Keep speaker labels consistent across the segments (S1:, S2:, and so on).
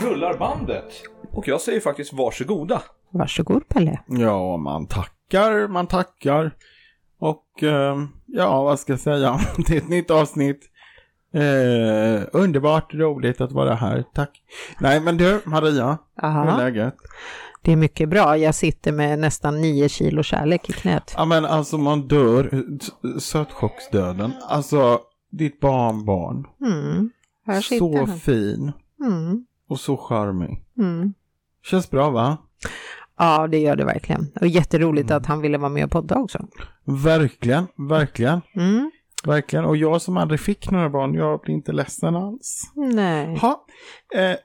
S1: rullar bandet. Och jag säger faktiskt varsågoda.
S2: Varsågod Pelle.
S3: Ja, man tackar, man tackar. Och eh, ja, vad ska jag säga? Det är ett nytt avsnitt. Eh, underbart roligt att vara här, tack. Nej, men du Maria, hur är
S2: Aha.
S3: läget?
S2: Det är mycket bra. Jag sitter med nästan nio kilo kärlek i knät.
S3: Ja, men alltså man dör, s- sötchocksdöden. Alltså, ditt barnbarn.
S2: Mm. Här sitter
S3: Så
S2: han.
S3: fin
S2: Mm.
S3: och så charmig.
S2: Mm.
S3: Känns bra va?
S2: Ja, det gör det verkligen. Och jätteroligt att han ville vara med och podda också.
S3: Verkligen, verkligen,
S2: Mm.
S3: verkligen. Och jag som aldrig fick några barn, jag blir inte ledsen alls.
S2: Nej.
S3: Ha, eh,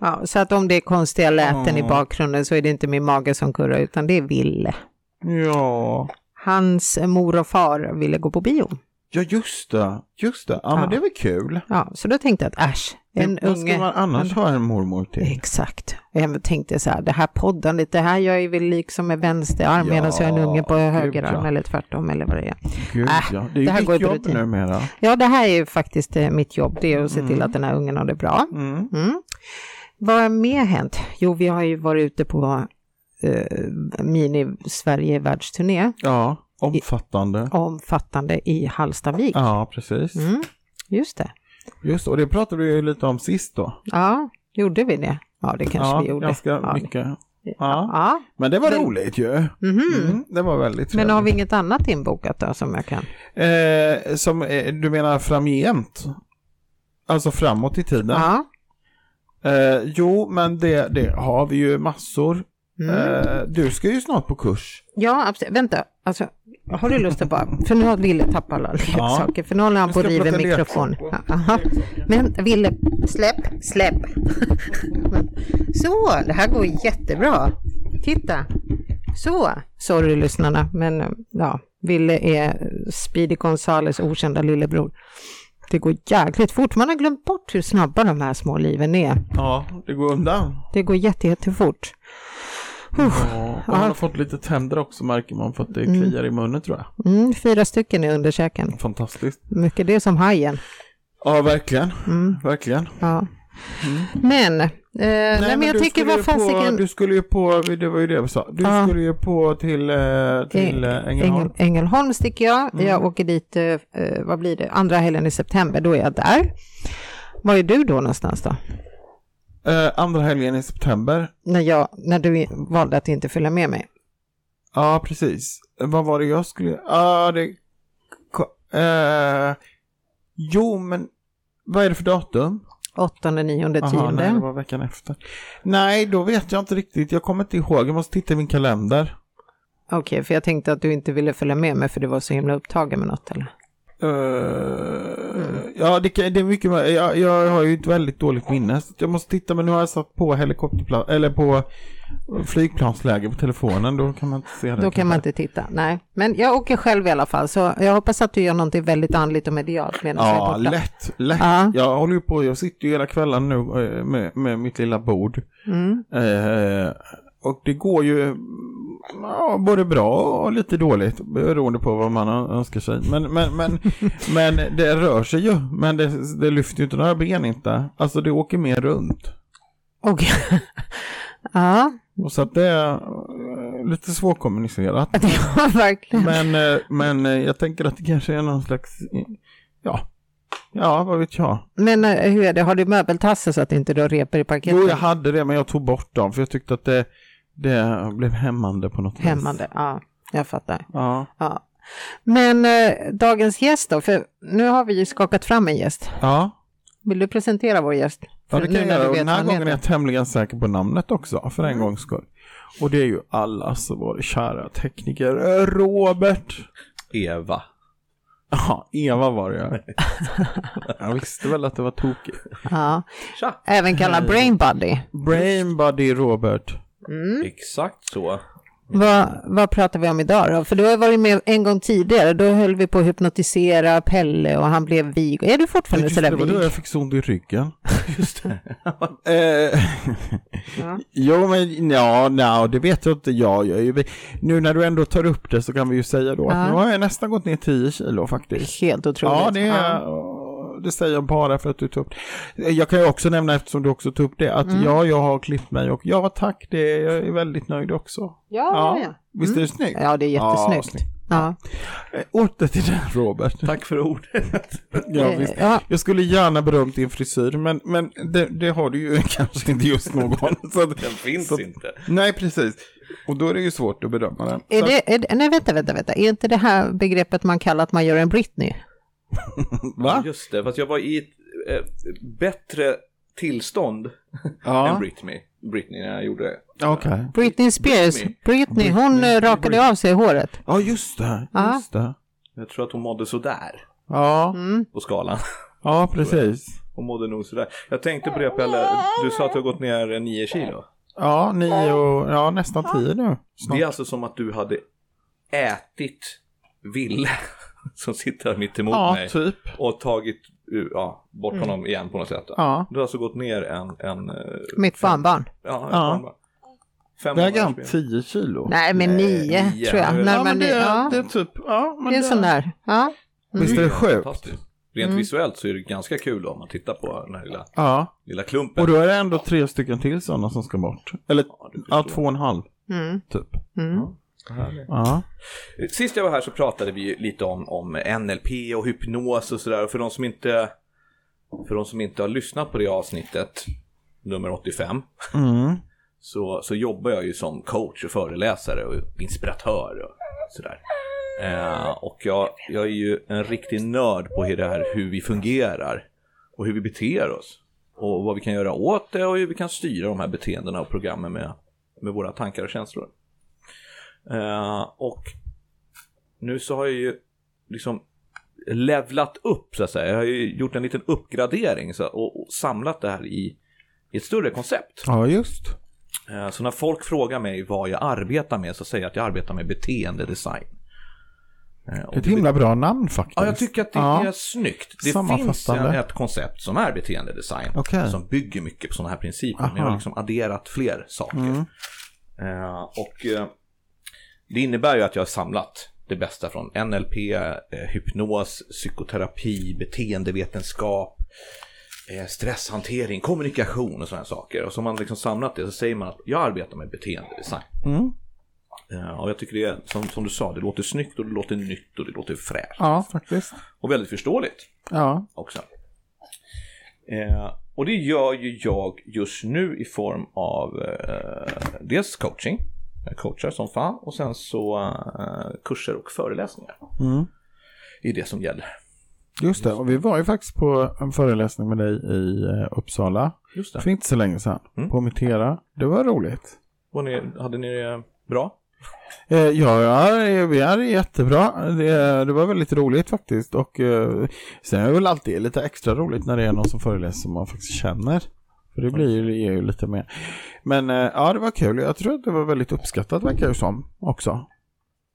S2: Ja, så att om det är konstiga läten i
S3: Ja.
S2: bakgrunden så är det inte min mage som kurrar utan det är Ville.
S3: ja.
S2: Hans mor och far ville gå på bio.
S3: ja, just det, just det. Ja,
S2: Ja.
S3: men det är väl kul.
S2: Ja, så då tänkte jag att äsch, en
S3: Vad ska
S2: unge.
S3: man annars ha en mormor till?
S2: Exakt. Och Jag tänkte så här, det här poddandet, det här gör jag väl liksom med vänster arm
S3: Ja,
S2: medan jag har en unge på
S3: gud,
S2: höger arm
S3: ja.
S2: eller tvärtom eller vad det är.
S3: Gud,
S2: Äh,
S3: ja. Det är
S2: det här
S3: ju
S2: går
S3: ditt
S2: ju på
S3: jobb
S2: rutin.
S3: numera.
S2: Ja, det här är ju faktiskt eh, mitt jobb, det är att se till att den här ungen har det bra.
S3: Mm.
S2: Mm. Vad har mer hänt? Jo, vi har ju varit ute på eh, mini-Sverige-världsturné,
S3: Ja, omfattande.
S2: omfattande i Hallstavik.
S3: Ja, precis.
S2: Mm. Just det.
S3: Just det, och det pratade vi ju lite om sist då.
S2: Ja, gjorde vi det? Ja, det kanske
S3: ja,
S2: vi gjorde.
S3: ganska
S2: ja,
S3: mycket. Ja.
S2: Ja.
S3: Men det var
S2: Men-
S3: roligt ju.
S2: Mhm.
S3: Mm, det var väldigt trevligt.
S2: Men har vi inget annat inbokat då som jag kan?
S3: Eh, som eh, du menar framgent? Alltså framåt i tiden?
S2: Ja.
S3: Eh, jo, men det, det har vi ju massor.
S2: Mm.
S3: Eh, du ska ju snart på kurs.
S2: Ja, absolut. Vänta, alltså, har du lust att bara... För nu har Ville tappat alla leksaker, för nu håller han
S3: Jag
S2: på och
S3: ska
S2: river
S3: plocka
S2: mikrofon.
S3: leksaker.
S2: Aha. Men Ville, släpp, släpp. Så, det här går jättebra. Titta. Så, sorry lyssnarna, men eh, ja, Ville är Speedy Gonzales okända lillebror. Det går jäkligt fort, man har glömt bort hur snabba de här små liven är.
S3: Ja, det går undan.
S2: Det går jätte, jättefort.
S3: Ja, och han har fått lite tänder också märker man för att det kliar i munnen tror jag.
S2: Mm, fyra stycken i underkäken.
S3: Fantastiskt.
S2: Mycket det är som hajen.
S3: Ja, verkligen.
S2: Mm.
S3: Verkligen.
S2: Ja. Men, eh, nej, men jag
S3: Mm. du
S2: tycker
S3: skulle
S2: vad
S3: ju På,
S2: fasiken...
S3: du skulle ju på, det var ju det vi sa, du
S2: Ja.
S3: skulle ju på till, eh, till eh, Ängelholm.
S2: Ängel, Ängelholm sticker jag.
S3: Mm.
S2: Jag åker dit, eh, eh, vad blir det, andra helgen i september, då är jag där. Var är du då någonstans då?
S3: Eh, andra helgen i september.
S2: När, jag, när du valde att inte följa med mig.
S3: Ja, precis. Vad var det jag skulle... Ja, det... ko- Eh... Jo, men vad är det för datum?
S2: 8, 9, 10.
S3: Aha, nej, det var veckan efter. Nej, då vet jag inte riktigt. Jag kommer inte ihåg. Jag måste titta i min kalender.
S2: Okej, för jag tänkte att du inte ville följa med mig för du var så himla upptagen med något eller?
S3: Eh, Ja, det, kan- det är mycket mer. jag, jag har ju ett väldigt dåligt minne. Så jag måste titta, men nu har jag satt på helikopterplan eller på flygplansläge på telefonen. Då kan man inte se det.
S2: Då kan man inte titta, nej. Men jag åker själv i alla fall, så jag hoppas att du gör någonting väldigt andligt och medialt medan jag är
S3: Ja,
S2: borta.
S3: lätt, lätt.
S2: Ja.
S3: Jag håller ju på, jag sitter ju hela kvällen nu eh, med, med mitt lilla bord.
S2: Mm.
S3: Eh, och det går ju mm, ja, både bra och lite dåligt beroende på vad man ö- önskar sig. Men, men, men, men det rör sig ju, men det, det lyfter ju inte några ben inte. Alltså det åker mer runt.
S2: Okej. ja,
S3: Och så att det är eh, lite svårkommunicerat.
S2: ja, verkligen.
S3: Men, eh, men eh, jag tänker att det kanske är någon slags, eh, ja, ja vad vet jag.
S2: Men eh, hur är det, har du möbeltassar så att inte du har repor i parketten?
S3: Jo, jag hade det, men jag tog bort dem för jag tyckte att det, det blev hämmande på något vis.
S2: Hämmande, ja, jag fattar.
S3: Ja.
S2: Ja. Men eh, dagens gäst då, för nu har vi ju skakat fram en gäst.
S3: Ja.
S2: Vill du presentera vår gäst?
S3: ja,
S2: För
S3: det kan
S2: nu
S3: jag
S2: när du
S3: göra. Och
S2: vet
S3: Den här
S2: vad han
S3: gången
S2: heter.
S3: är
S2: Mm.
S3: jag tämligen säker på namnet också, för en gångs skull. Och det är ju allas vår kära tekniker eh, Robert.
S1: Eva.
S3: Ja, Eva var det ja. Jag visste väl att det var tokigt.
S2: Ja.
S1: Tja.
S2: Även kallad Brain Buddy.
S3: Brain Buddy Robert. Mm.
S1: Exakt så.
S2: Vad, vad pratar vi om idag då? För du har ju varit med en gång tidigare, då höll vi på att hypnotisera Pelle och han blev vig. Är du fortfarande
S3: Just det,
S2: sådär
S3: det var då
S2: vig?
S3: jag fick så ont i ryggen.
S1: Just det.
S3: Eh,
S2: Ja.
S3: Jo, men ja, no, det vet jag inte. Ja, jag är ju, nu när du ändå tar upp det så kan vi ju säga då att
S2: Ja.
S3: nu har jag nästan gått ner 10 kilo faktiskt.
S2: Helt otroligt.
S3: Ja, det är,
S2: Ja.
S3: det säger jag bara för att du tog upp det. Jag kan ju också nämna, eftersom du också tog upp det, att ja, jag har klippt mig och ja, tack, det, jag är väldigt nöjd också.
S2: Ja, ja.
S3: Visst är det snyggt?
S2: ja det är
S3: Ja,
S2: jättesnyggt.
S3: snyggt.
S2: Ja,
S3: Eh, Åter till den Robert.
S1: Tack för ordet.
S3: Ja, visst.
S2: ja.
S3: Jag skulle gärna berömt din frisyr, men, men det, det har du ju kanske inte just någon. Så att,
S1: Den finns
S3: Så-
S1: inte.
S3: nej, precis. Och då är det ju svårt att bedöma den.
S2: Är
S3: Så-
S2: det, är det, nej, vänta, vänta, vänta. Är inte det här begreppet man kallar att man gör en Britney?
S3: Va?
S1: Just det, fast jag var i ett eh, bättre tillstånd än
S3: Ja,
S1: Britney. Britney när jag gjorde det.
S3: okej.
S2: Britney Spears,
S1: Britney.
S2: Britney, hon eh, rakade av sig håret.
S3: Ja, just det.
S2: Ja.
S3: Just det.
S1: Jag tror att hon mådde sådär
S3: Ja,
S2: Mm.
S1: på skalan.
S3: ja precis.
S1: Hon mådde nog sådär. Jag tänkte på det Pelle, du sa att du har gått ner eh, 9 kilo.
S3: Ja, nio och ja, nästan tio nu.
S1: Det
S3: Snart.
S1: är alltså som att du hade ätit Ville som sitter här mitt emot
S3: Ja,
S1: mig
S3: typ.
S1: och tagit uh, ja, bort honom igen på något sätt.
S3: Mm. Ja.
S1: Du har alltså gått ner en... en eh,
S2: Mitt barnbarn.
S1: ja,
S3: Ja.
S1: ja. Fem
S3: Väger han
S1: månaders-
S3: 10 kilo?
S2: Nej, men
S1: Nej,
S2: nio
S1: nio.
S2: tror jag.
S1: Ja,
S2: När
S3: ja,
S2: man,
S3: men det, är-
S2: ja,
S3: det är typ, ja. Men
S2: det är en sån där. Ja.
S3: Visst är det
S1: ju
S3: sjukt? Mm.
S1: fantastiskt. Rent visuellt så är det ganska kul då, om man tittar på den här lilla,
S3: Ja,
S1: lilla klumpen.
S3: och då är det ändå tre stycken till sådana som ska bort. Eller,
S1: Ja, det förstår
S3: ja, två och en halv,
S2: Mm.
S3: typ.
S2: Mm.
S3: Ja.
S1: Sist jag var här så pratade vi ju lite om, om NLP och hypnos och sådär. Och för de som inte för de som inte har lyssnat på det avsnittet, nummer 85,
S3: Mm.
S1: så, så jobbar jag ju som coach och föreläsare och inspiratör och sådär. Eh, och jag, jag är ju en riktig nörd på hur det här hur vi fungerar och hur vi beter oss. Och vad vi kan göra åt det och hur vi kan styra de här beteendena och programmen med, med våra tankar och känslor. Eh, och nu så har jag ju liksom levlat upp så att säga. Jag har ju gjort en liten uppgradering så, och, och samlat det här i, i ett större koncept.
S3: Ja, just.
S1: Eh, Så när folk frågar mig vad jag arbetar med så säger jag att jag arbetar med beteendedesign. Eh, och
S3: Det är ett himla bra namn faktiskt.
S1: Ja, jag tycker att det
S3: Ja.
S1: är snyggt. Det finns en,
S3: Sammanfattande.
S1: ett koncept som är beteendedesign
S3: Okej.
S1: som bygger mycket på sådana här principer. Men jag har
S3: Aha. Mm.
S1: liksom adderat fler saker. Eh, och eh, det innebär ju att jag har samlat det bästa från NLP, eh, hypnos, psykoterapi, beteendevetenskap, eh, stresshantering, kommunikation och sådana saker. Och så har man liksom samlat det så säger man att jag arbetar med beteendedesign.
S3: Mm.
S1: Eh, och jag tycker det är, som, som du sa, det låter snyggt och det låter nytt och det låter fräscht.
S3: Ja, faktiskt.
S1: Och väldigt förståeligt
S3: Ja.
S1: också. Eh, och det gör ju jag just nu i form av eh, dels coaching, jag coachar som fan, och sen så eh, kurser och föreläsningar.
S3: Mm.
S1: Det är det som gäller.
S3: Just det, och vi var ju faktiskt på en föreläsning med dig i eh, Uppsala
S1: Just
S3: för inte så länge sedan,
S1: Mm.
S3: på Mitera. Det var roligt.
S1: Var ni, hade ni det bra?
S3: Eh, ja, ja, vi är jättebra. Det, det var väldigt roligt faktiskt. Och eh, sen är det väl alltid lite extra roligt när det är någon som föreläser som man faktiskt känner. För det blir ju, ger ju lite mer. Men eh, ja, det var kul. Jag tror att det var väldigt uppskattat verkar det som också.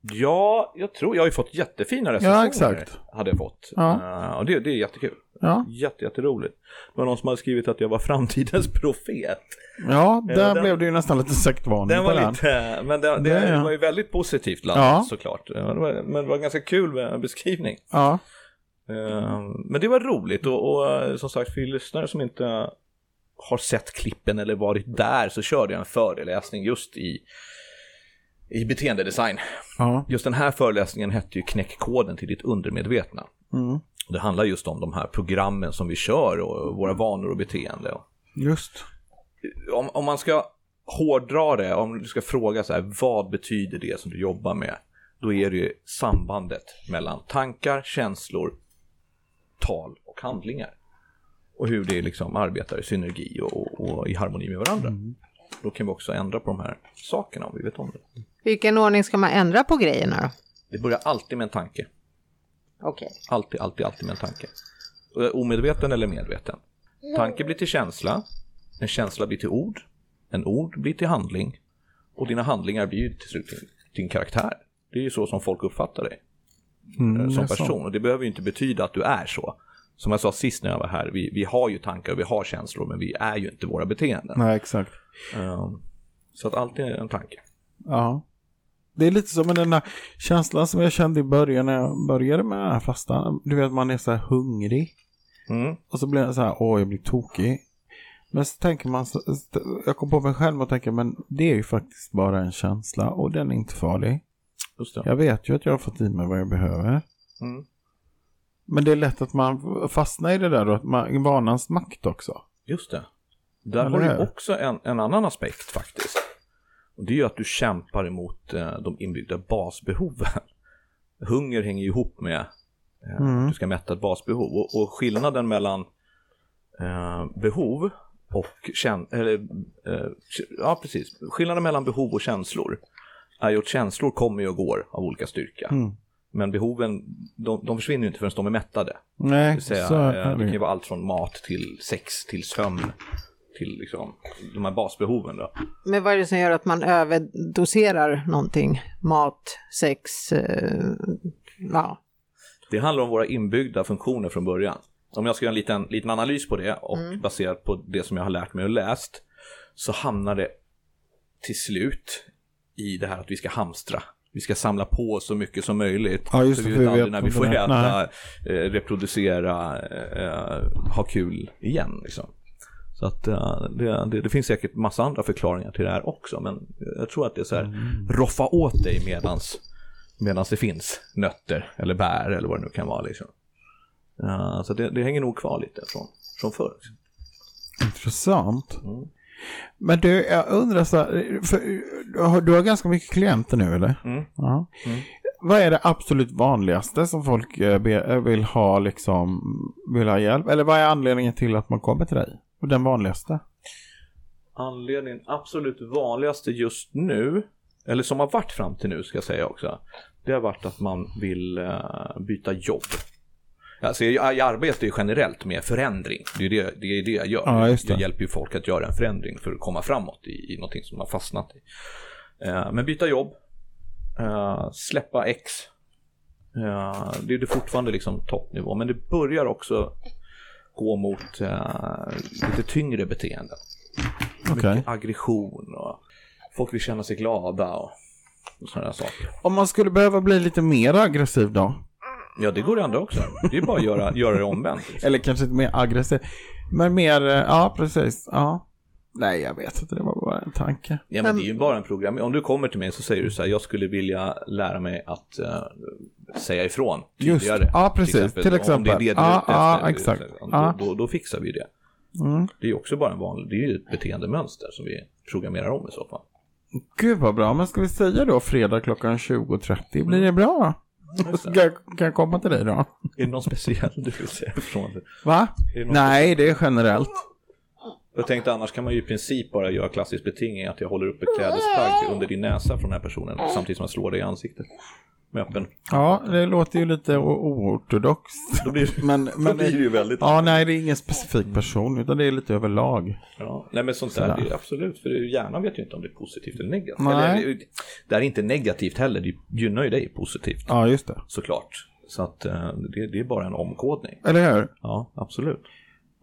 S1: Ja, jag tror, jag har ju fått jättefina recensioner.
S3: Ja, exakt.
S1: Hade jag fått.
S3: Ja.
S1: Eh, och det, det är jättekul.
S3: Ja,
S1: Jätte, jätteroligt. Det var någon som hade skrivit att jag var framtidens profet.
S3: ja
S1: Eh,
S3: där
S1: den-
S3: blev det ju nästan lite sektvarning
S1: Den
S3: på
S1: var
S3: den.
S1: lite, men det, det
S3: Ja, ja.
S1: var ju väldigt positivt landat
S3: Ja.
S1: såklart. Det var- Men det var ganska kul med en beskrivning.
S3: Ja,
S1: Eh, Men det var roligt och, och eh, som sagt för er lyssnare som inte har sett klippen eller varit där så körde jag en föreläsning just i, i beteendedesign.
S3: ja.
S1: Just den här föreläsningen hette ju Knäck koden till ditt undermedvetna.
S3: Mm.
S1: Och Det handlar just om de här programmen som vi kör och våra vanor och beteende. Och
S3: just.
S1: om, om man ska hårdra det, om du ska fråga så här, vad betyder det som du jobbar med? Då är det ju sambandet mellan tankar, känslor, tal och handlingar. Och hur det liksom arbetar i synergi och, och, och i harmoni med varandra. Då kan vi också ändra på de här sakerna om vi vet om det.
S2: Vilken ordning ska man ändra på grejerna då?
S1: Det börjar alltid med en tanke.
S2: Okej.
S1: Alltid, alltid, alltid med en tanke. Eh, Omedveten eller medveten.
S3: Mm.
S1: Tanke blir till känsla, en känsla blir till ord, en ord blir till handling och dina handlingar blir ju till slut din, din karaktär. Det är ju så som folk uppfattar dig eh,
S3: Mm,
S1: som
S3: jag sa.
S1: person och det behöver ju inte betyda att du är så. Som jag sa sist när jag var här, vi, vi har ju tankar och vi har känslor men vi är ju inte våra beteenden.
S3: Nej, exakt.
S1: Eh, Så att alltid är en tanke.
S3: Ja. Det är lite som med den där känslan som jag kände i början när jag började med den här fastan. Du vet, man är så här hungrig.
S1: Mm.
S3: Och så blir jag så här, åh jag blir tokig. Men så tänker man, så- så- jag kom på mig själv och tänker, men det är ju faktiskt bara en känsla och den är inte farlig.
S1: Just det.
S3: Jag vet ju att jag har fått i mig vad jag behöver.
S1: Mm.
S3: Men det är lätt att man fastnar i det där och att man, vanans makt också.
S1: Just det. Där
S3: Eller
S1: har du
S3: hur?
S1: också en, en annan aspekt faktiskt. Och det är ju att du kämpar emot eh, de inbyggda basbehoven. Hunger hänger ju ihop med eh,
S3: Mm.
S1: att du ska mätta ett basbehov. Och, och skillnaden mellan eh, behov och känslor, eller eh, k- ja precis, skillnaden mellan behov och känslor är ju att känslor kommer ju och går av olika styrka.
S3: Mm.
S1: Men behoven, de, de försvinner ju inte förrän de är mättade. Det
S3: Nej,
S1: vill säga,
S3: så är
S1: eh, det
S3: det
S1: kan ju
S3: ju.
S1: vara allt från mat till sex, till sömn, till liksom de här basbehoven då.
S2: Men vad är det som gör att man överdoserar någonting? Mat, sex, eh, ja.
S1: Det handlar om våra inbyggda funktioner från början. Om jag ska göra en liten, liten analys på det och baserat på det som jag har lärt mig och läst så hamnar det till slut i det här att vi ska hamstra. Vi ska samla på oss så mycket som möjligt.
S3: Ja, just
S1: för vi
S3: det, för
S1: vet
S3: vi
S1: aldrig
S3: vet
S1: när vi
S3: inte
S1: får
S3: när-
S1: äta, eh, reproducera, eh, ha kul igen. Liksom. Så att eh, det, det, det finns säkert massa andra förklaringar till det här också. Men jag tror att det är så här,
S3: Mm.
S1: roffa åt dig medans medan det finns nötter eller bär eller vad det nu kan vara. Liksom. Ja, så det, det hänger nog kvar lite från, från förr. liksom.
S3: Intressant.
S1: Mm.
S3: Men du, jag undrar så här, för, du har- du har ganska mycket klienter nu eller?
S1: Mm.
S3: Ja.
S1: Mm.
S3: Vad är det absolut vanligaste som folk eh, be- eh, vill ha liksom, vill ha hjälp? Eller vad är anledningen till att man kommer till dig? Och den vanligaste?
S1: Anledningen absolut vanligaste just nu, eller som har varit fram till nu ska jag säga också, det har varit att man vill eh, byta jobb. Alltså jag, jag arbetar ju generellt med förändring, det är det, det, är det jag gör.
S3: Ja, just det.
S1: Jag hjälper ju folk att göra en förändring för att komma framåt i, i någonting som de har fastnat i. Eh, men byta jobb, eh, släppa X, eh, det är det fortfarande liksom toppnivå, men det börjar också gå mot eh, lite tyngre beteenden.
S3: Okej.
S1: Mycket aggression och folk vill känna sig glada och, och sådana där saker.
S3: Om man skulle behöva bli lite mer aggressiv då?
S1: Ja, det går det andra också. Det är bara att göra, göra det omvänt. liksom.
S3: Eller kanske inte mer aggressiv, men mer, eh, ja precis, ja. Nej, jag vet inte, det var bara en tanke.
S1: Ja, men det är ju bara en program. Om du kommer till mig så säger du så här, jag skulle vilja lära mig att eh, säga ifrån
S3: Just,
S1: tidigare.
S3: ja, precis. Till
S1: Om det är
S3: exempel.
S1: det du är
S3: Ja,
S1: ute
S3: ja,
S1: efter,
S3: exakt.
S1: så-
S3: Ja.
S1: Då, då, då fixar vi det.
S3: Mm.
S1: Det är ju också bara en vanlig, det är ju ett beteendemönster som vi programmerar om i så fall.
S3: Gud vad bra, men ska vi säga då fredag klockan 20.30, blir det bra? Ska jag, kan jag komma till dig då?
S1: Är det någon speciell du vill säga ifrån?
S3: Va?
S1: Är det någon
S3: Nej, det är generellt.
S1: Jag tänkte annars kan man ju i princip bara göra klassisk betingning att jag håller upp ett klädesplagg under din näsa från den här personen samtidigt som jag slår dig i ansiktet. Med öppen.
S3: Ja, det låter ju lite o- oortodoxt.
S1: Då blir det,
S3: Men,
S1: då
S3: men
S1: blir det ju väldigt...
S3: ja, nej, det är ingen specifik person, utan det är lite överlag.
S1: Ja. Nej men sånt där, det är absolut. För hjärnan vet ju inte om det är positivt eller negativt.
S3: Nej.
S1: Eller, det här är inte negativt heller, det gynnar ju dig positivt
S3: Ja, just det.
S1: såklart. Så att eh, det, det är bara en omkodning.
S3: Eller hur?
S1: Ja, absolut.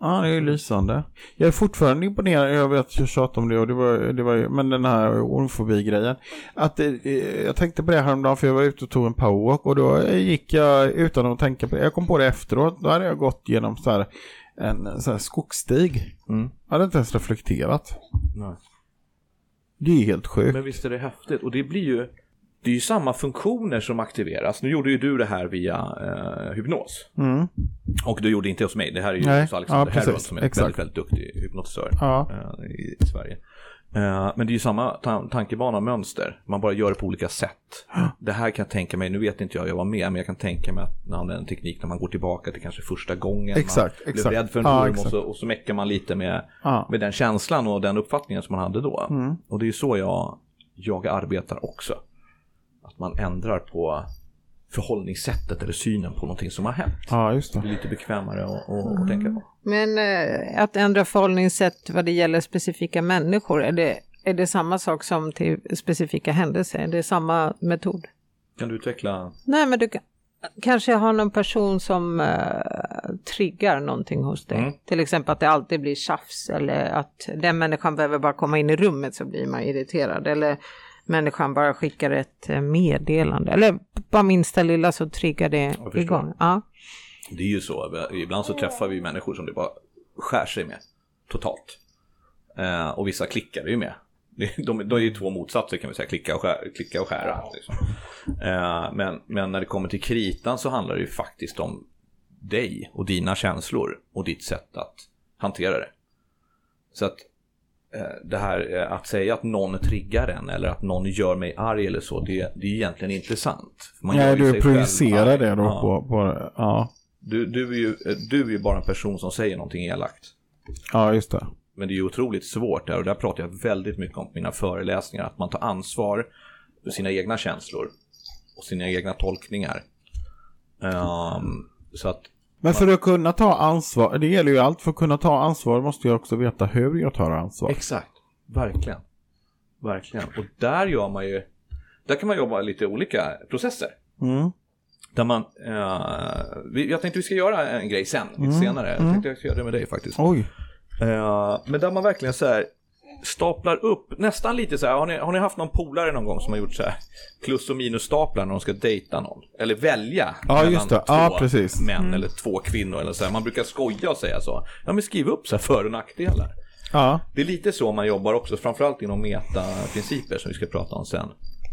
S3: Ja, det är ju lysande. Jag är fortfarande imponerad, jag vet att jag tjatar om det, och det var, det var ju- men den här ormfobi-grejen. Att det, eh, jag tänkte på det häromdagen för jag var ute och tog en powerwalk och då eh, gick jag utan att tänka på det. Jag kom på det efteråt, då hade jag gått genom så här, en så här skogsstig.
S1: Mm.
S3: Jag hade inte ens reflekterat.
S1: Nej.
S3: Det är helt sjukt.
S1: Men visst är det häftigt och det blir ju det är ju samma funktioner som aktiveras. Nu gjorde ju du det här via eh, hypnos.
S3: Mm.
S1: Och du gjorde inte hos mig, det här är ju
S3: Nej.
S1: hos Alexander ja,
S3: Ja, precis.
S1: Herrod som är en
S3: Exakt.
S1: väldigt, väldigt duktig hypnotisör
S3: Ja.
S1: eh, i, i Sverige. Eh, men det är ju samma ta- tankebana och mönster, man bara gör det på olika sätt. Det här kan jag tänka mig, nu vet inte jag, jag var med, men jag kan tänka mig att man använder en teknik när man går tillbaka till kanske första gången
S3: Exakt,
S1: man
S3: exakt.
S1: blev rädd för en
S3: Ja,
S1: orm och
S3: exakt.
S1: så, och så mäckar man lite med,
S3: Ja. Mm.
S1: med den känslan och den uppfattningen som man hade då. Och det är ju så jag, jag arbetar också. Att man ändrar på förhållningssättet eller synen på någonting som har hänt
S3: ja, just det.
S1: blir lite bekvämare att, att, att tänka på.
S2: Men eh, att ändra förhållningssätt vad det gäller specifika människor, är det, är det samma sak som till specifika händelser? Är det samma metod?
S1: Kan du utveckla?
S2: Nej, men du kan- kanske har någon person som eh, triggar någonting hos dig.
S1: Mm.
S2: Till exempel att det alltid blir tjafs eller att den människan behöver bara komma in i rummet så blir man irriterad. Eller människan bara skickar ett eh, meddelande. Eller bara minsta lilla så triggar det
S1: Jag förstår.
S2: igång. Ja.
S1: Det är ju så, ibland så träffar vi människor som det bara skär sig med totalt. Eh, och vissa klickar det ju med. Det- De, de är ju två motsatser kan vi säga, klicka och, skär, klicka och skära. Liksom. Eh, men, men när det kommer till kritan så handlar det ju faktiskt om dig och dina känslor och ditt sätt att hantera det. Så att eh, det här eh, att säga att någon triggar en eller att någon gör mig arg eller så, det, det är egentligen inte sant. Man gör
S3: Nej,
S1: ju
S3: du
S1: sig själv
S3: projicerar
S1: arg.
S3: det då
S1: Ja.
S3: på, på... Ja,
S1: Du, du, är ju, eh, du är ju bara en person som säger någonting elakt.
S3: ja just det.
S1: Men det är ju otroligt svårt där och där pratar jag väldigt mycket om på mina föreläsningar. Att man tar ansvar för sina egna känslor och sina egna tolkningar. Ehm, så att,
S3: Men för att kunna ta ansvar, det gäller ju allt, för att kunna ta ansvar måste jag också veta hur jag tar ansvar.
S1: exakt, verkligen. Verkligen. Och där gör man ju, där kan man jobba lite olika processer.
S3: Mm.
S1: Där man, eh, vi, jag tänkte vi ska göra en grej sen, lite senare. Jag tänkte jag ska göra det med dig faktiskt.
S3: Oj,
S1: Eh, men där man verkligen så här staplar upp, nästan lite så här, har ni, har ni haft någon polare någon gång som har gjort så här plus och minus staplar när de ska dejta någon? Eller välja
S3: Ja,
S1: mellan
S3: just det.
S1: två
S3: Ja, precis. Mm.
S1: män eller två kvinnor eller så här. Man brukar skoja och säga så. Ja, men skriv upp så här för och nackdelar.
S3: ja.
S1: Det är lite så man jobbar också, framförallt inom metaprinciper som vi ska prata om sen.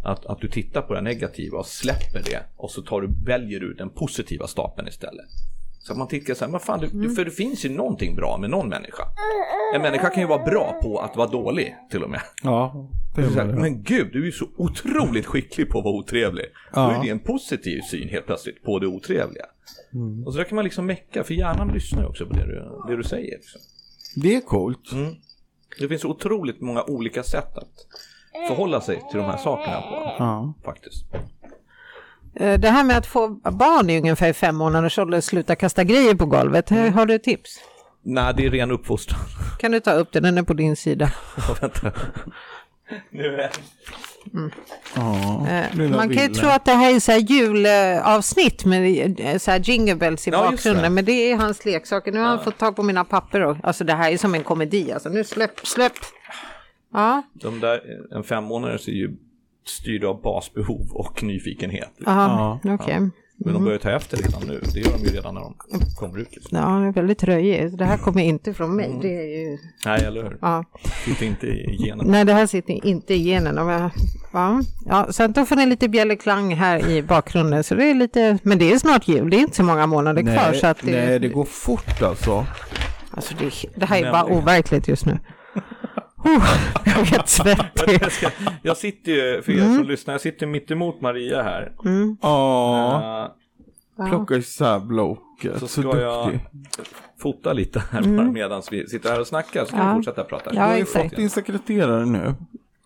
S1: Att, att du tittar på det negativa och släpper det och så tar du, väljer du den positiva stapeln istället. Så att man tittar så här, men fan, du, du- för det finns ju någonting bra med någon människa. En människa kan ju vara bra på att vara dålig till och med.
S3: Ja, det är
S1: Så här,
S3: väl det.
S1: men gud, du är ju så otroligt skicklig på att vara otrevlig. Då
S3: Ja.
S1: är det en positiv syn helt plötsligt på det otrevliga.
S3: Mm.
S1: Och så där kan man liksom mecka, för hjärnan lyssnar ju också på det du, det du säger. Liksom.
S3: Det är coolt.
S1: Mm. Det finns otroligt många olika sätt att förhålla sig till de här sakerna på.
S3: Ja.
S1: Faktiskt.
S2: Eh, Det här med att få barn i ungefär fem månaders ålder och sluta kasta grejer på golvet. Här
S1: Mm.
S2: Har du tips?
S1: Nej, det är ren uppfostran.
S2: Kan du ta upp den? Den är på din sida.
S1: Vänta. Nu är
S3: ja.
S2: Eh,
S3: Lilla
S2: Man kan ju
S3: Wille.
S2: tro att det här är så här julavsnitt med eh, så här jingle bells i
S1: Ja, just
S2: bakgrunden.
S1: det.
S2: Men det är hans leksaker. Nu har han fått tag på mina papper. Och, alltså det här är som en komedi. Alltså nu släpp, släpp. Ja,
S1: de där, en femmånaders är ju styrda av basbehov och nyfikenhet.
S2: aha, okej.
S1: Men de börjar ta efter redan nu. Det gör de ju redan när de kommer ut. Liksom.
S2: Ja, det är väldigt röjigt. Det här kommer inte från
S1: Mm.
S2: mig. Det är ju...
S1: Nej, eller hur?
S2: Ja.
S1: Sitter inte i genen.
S2: Nej, det här sitter inte i genen. Om jag- Ja. Ja, så då får ni lite bjällerklang här i bakgrunden. Så det är lite... Men det är snart jul. Det är inte så många månader kvar. Så att det...
S3: nej, det går fort alltså.
S2: Alltså det, det här är bara overkligt just nu. Oh, jag är helt svettig.
S1: Jag, ska, jag sitter ju, för er
S2: Mm.
S1: som lyssnar, jag sitter mitt emot Maria här.
S3: Ja,
S1: Eh,
S3: plockar isär blocket. Så,
S1: Så ska jag
S3: duktig.
S1: fota lite här medan vi sitter här och snackar. Så kan vi fortsätta prata.
S2: Mm. Ja,
S3: Jag har ju
S2: exakt.
S3: fått din sekreterare nu.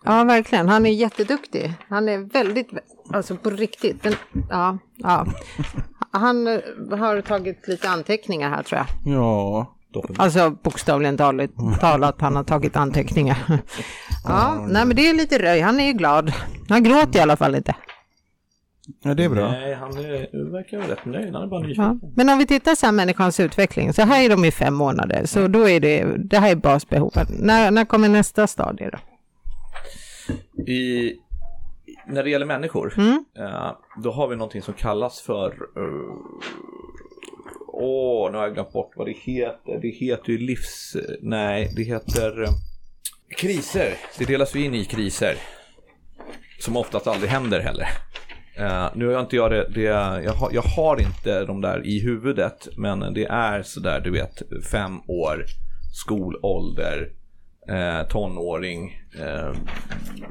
S2: Ja, verkligen. Han är jätteduktig. Han är väldigt, alltså på riktigt. Den, ja, ja. Han eh, har tagit lite anteckningar här tror jag.
S3: Ja.
S2: Alltså bokstavligen talat, talat han har tagit anteckningar. Ja, nej men det är lite röj. Han är ju glad. Han gråter i alla fall inte.
S3: ja, det är bra.
S1: Nej, han är, verkar vara rätt nöjd. Han är bara nyfiken.
S2: Ja. Men om vi tittar så här människans utveckling, så här är de i fem månader, så då är det, det här är basbehoven. När, när kommer nästa stadie då?
S1: I, när det gäller människor, eh, då har vi någonting som kallas för... eh, Åh, nu har jag glömt bort vad det heter. Det heter ju livs... Nej, det heter... eh, kriser. Det delas ju in i kriser. Som oftast aldrig händer heller. Eh, nu har jag inte jag det, det jag, har, jag har inte de där i huvudet, men det är sådär du vet fem år, skolålder, eh, tonåring, eh,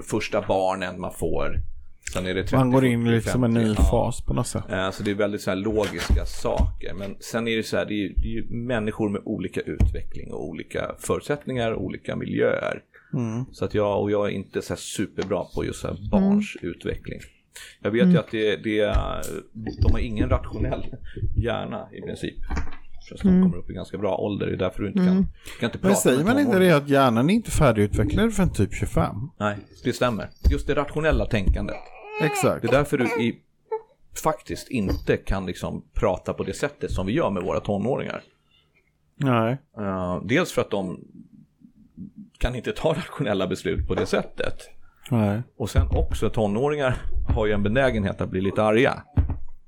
S1: första barnen man får. Sen är det 30,
S3: Man går in
S1: 40,
S3: i liksom en
S1: 50,
S3: ny
S1: ja.
S3: fas på något sätt.
S1: Eh, Så det är väldigt så här logiska saker. Men sen är det så här, det är, ju, det är ju människor med olika utveckling och olika förutsättningar och olika miljöer.
S3: Mm.
S1: Så att jag, och jag är inte så här superbra på just så här barns
S3: Mm.
S1: utveckling. Jag vet ju att det, det, är- de har ingen rationell hjärna i princip. Förrän de kommer upp i ganska bra ålder, det är därför du inte kan, du kan inte prata
S3: Mm. Men säger
S1: med
S3: man inte
S1: tonåringar.
S3: det att hjärnan är inte färdigutvecklad förrän typ 25?
S1: Nej, det stämmer. Just det rationella tänkandet.
S3: Exakt.
S1: Det är därför du i, faktiskt inte kan liksom prata på det sättet som vi gör med våra tonåringar.
S3: Nej.
S1: Eh, dels för att de kan inte ta rationella beslut på det sättet.
S3: Nej.
S1: Och sen också tonåringar har ju en benägenhet att bli lite arga.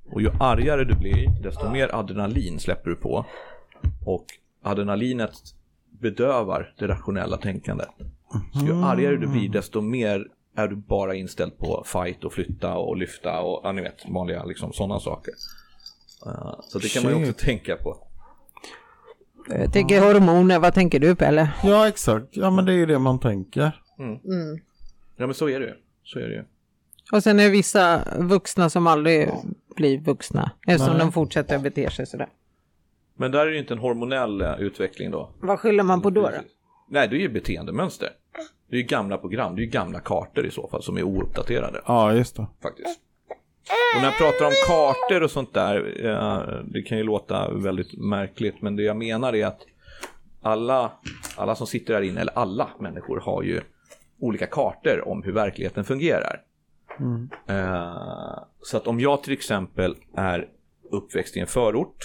S1: Och Och ju argare du blir, desto mer adrenalin släpper du på. Och adrenalinet bedövar det rationella tänkandet. Så ju argare du blir, desto mer är du bara inställd på fight och flytta och lyfta och ja, ni vet, vanliga liksom, sådana saker. Eh, så det kan man ju
S3: Shit.
S1: också tänka på.
S2: Jag tänker hormoner, vad tänker du Pelle?
S3: Ja, exakt. Ja, men det är ju det man tänker.
S1: Ja men så är det ju. Så är det ju.
S2: Och sen är det vissa vuxna som aldrig blir vuxna eftersom de fortsätter att bete sig sådär.
S1: Men där är det ju inte en hormonell eh, utveckling då.
S2: Vad skyller man på då? då?
S1: Precis. Nej, det är ju beteendemönster. Det är ju gamla program, det är ju gamla kartor i så fall som är ouppdaterade
S3: Ja, just det.
S1: faktiskt. Och när jag pratar om kartor och sånt där, eh, det kan ju låta väldigt märkligt, men det jag menar är att alla, alla som sitter här inne, eller alla människor har ju olika kartor om hur verkligheten fungerar. Eh, så att om jag till exempel är uppväxt i en förort,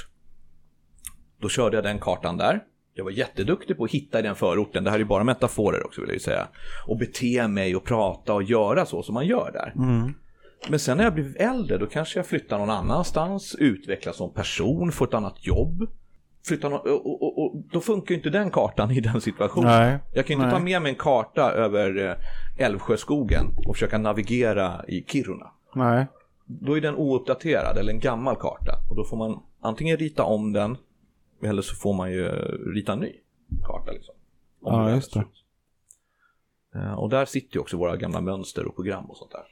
S1: då körde jag den kartan där. Jag var jätteduktig på att hitta i den förorten, det här är ju bara metaforer också vill jag ju säga. Och bete mig och prata och göra så som man gör där.
S3: Mm.
S1: Men sen när jag blir äldre då kanske jag flyttar någon annanstans, utvecklas som person, får ett annat jobb. Flyttar någon, och, och, och, och då funkar ju inte den kartan i den situationen.
S3: Nej,
S1: jag kan ju inte
S3: nej.
S1: ta med mig en karta över eh, Älvsjöskogen och försöka navigera i Kiruna.
S3: Nej.
S1: Då är den ouppdaterad eller en gammal karta och då får man antingen rita om den eller så får man ju rita en ny karta. Liksom, Om
S3: Ja,
S1: är
S3: just det.
S1: slut. Eh, Och där sitter ju också våra gamla mönster och program och sånt där.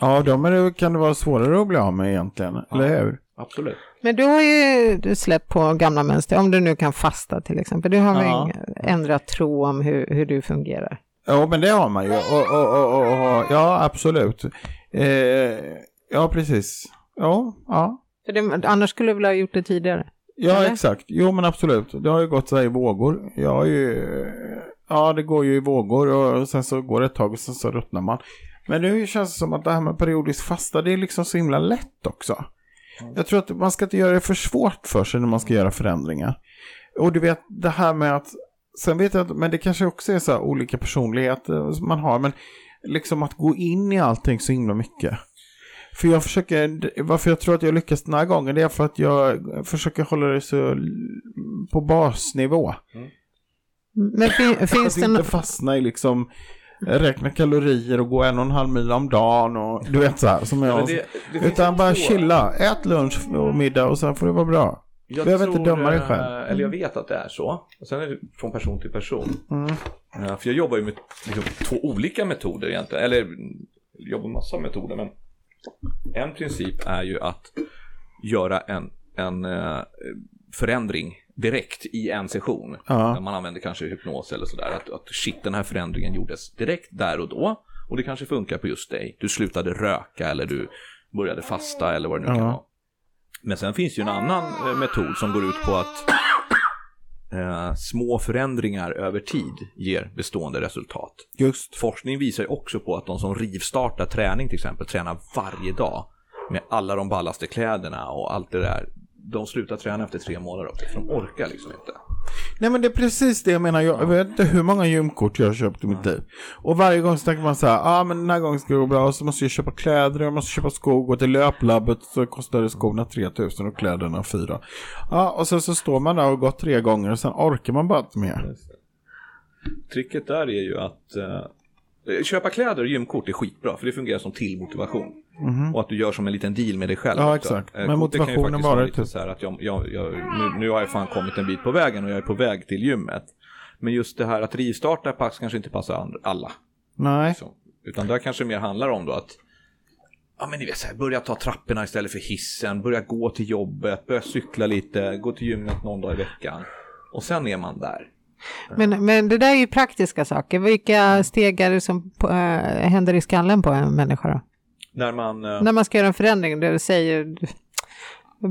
S3: Ja, de är det, kan det vara svårare att bli av med egentligen, eller hur?
S1: Absolut.
S2: Men du har ju du släppt på gamla mönster, om du nu kan fasta till exempel. Du har väl
S3: Ja.
S2: ändrat tro om hur, hur du fungerar?
S3: Ja, men det har man ju. Och, och, och, och, och, ja, absolut. Eh, ja, precis. Ja, ja.
S2: För det, annars skulle du väl ha gjort det tidigare?
S3: Ja,
S2: Eller?
S3: exakt. Jo, men absolut. Det har ju gått så här i vågor. Jag har ju... Ja, det går ju i vågor och sen så går det ett tag och sen så ruttnar man. Men nu känns det som att det här med periodiskt fasta, det är liksom så himla lätt också. Jag tror att man ska inte göra det för svårt för sig när man ska göra förändringar. Och du vet, det här med att... Sen vet jag att, men det kanske också är så här olika personligheter som man har, men liksom att gå in i allting så himla mycket. För jag försöker, varför jag tror att jag lyckas den här gången, det är för att jag försöker hålla det så l- på basnivå.
S2: Men fin, finns
S3: Att
S2: det no-
S3: inte fastna i liksom räkna kalorier och gå en och en halv mil om dagen och du vet så här som jag.
S1: Men det- det finns
S3: Utan
S1: ju
S3: bara
S1: två.
S3: chilla, ät lunch och middag och sen får det vara bra.
S1: Jag
S3: Behöver inte döma dig
S1: eh,
S3: själv.
S1: Eller jag vet att det är så. Och sen är det från person till person.
S3: Mm.
S1: Eh, För jag jobbar ju med liksom, två olika metoder egentligen. Eller mm, jag jobbar med massa metoder. Men en princip är ju att göra en, en eh, förändring direkt i en session.
S3: Ja.
S1: Där Man använder kanske hypnos eller sådär. Att, att shit, den här förändringen gjordes direkt där och då. Och det kanske funkar på just dig. Du slutade röka eller du började fasta eller vad det nu kan
S3: Ja.
S1: vara. Men sen finns ju en annan eh, metod som går ut på att eh, små förändringar över tid ger bestående resultat.
S3: Just.
S1: Forskning visar ju också på att de som rivstartar träning till exempel, tränar varje dag med alla de ballaste kläderna och allt det där. De slutar träna efter tre månader också, för de orkar liksom inte.
S3: Nej men det är precis det jag menar. Jag vet inte hur många gymkort jag har köpt i mitt liv. Och varje gång så tänker man så här, ja ah, men den här gången ska det gå bra. Och så måste jag köpa kläder och jag måste köpa skor. Gå till löplabbet så kostade skorna 3000 och kläderna 4. Ja och sen så står man där och har gått tre gånger och sen orkar man bara inte mer.
S1: Tricket där är ju att eh, köpa kläder och gymkort är skitbra, för det fungerar som till motivation. Och att du gör som en liten deal med dig själv.
S3: Mhm. Ja,
S1: också.
S3: exakt.
S1: Eh,
S3: Men
S1: det kan ju
S3: motivationen
S1: faktiskt
S3: bara
S1: vara
S3: är
S1: lite
S3: typ-
S1: så här att jag, jag, jag, nu, nu har jag fan kommit en bit på vägen och jag är på väg till gymmet. Men just det här att rivstarta pass kanske inte passar and- alla.
S3: Nej.
S1: Liksom. Utan där kanske mer handlar om då att Ja men ni vet så här, börja ta trapporna istället för hissen, börja gå till jobbet, börja cykla lite, gå till gymmet någon dag i veckan. Och sen är man där.
S2: men, men det där är ju praktiska saker. Vilka steg är det som på, eh, händer i skallen på en människa då?
S1: När man... eh,
S2: När man ska göra en förändring, det säger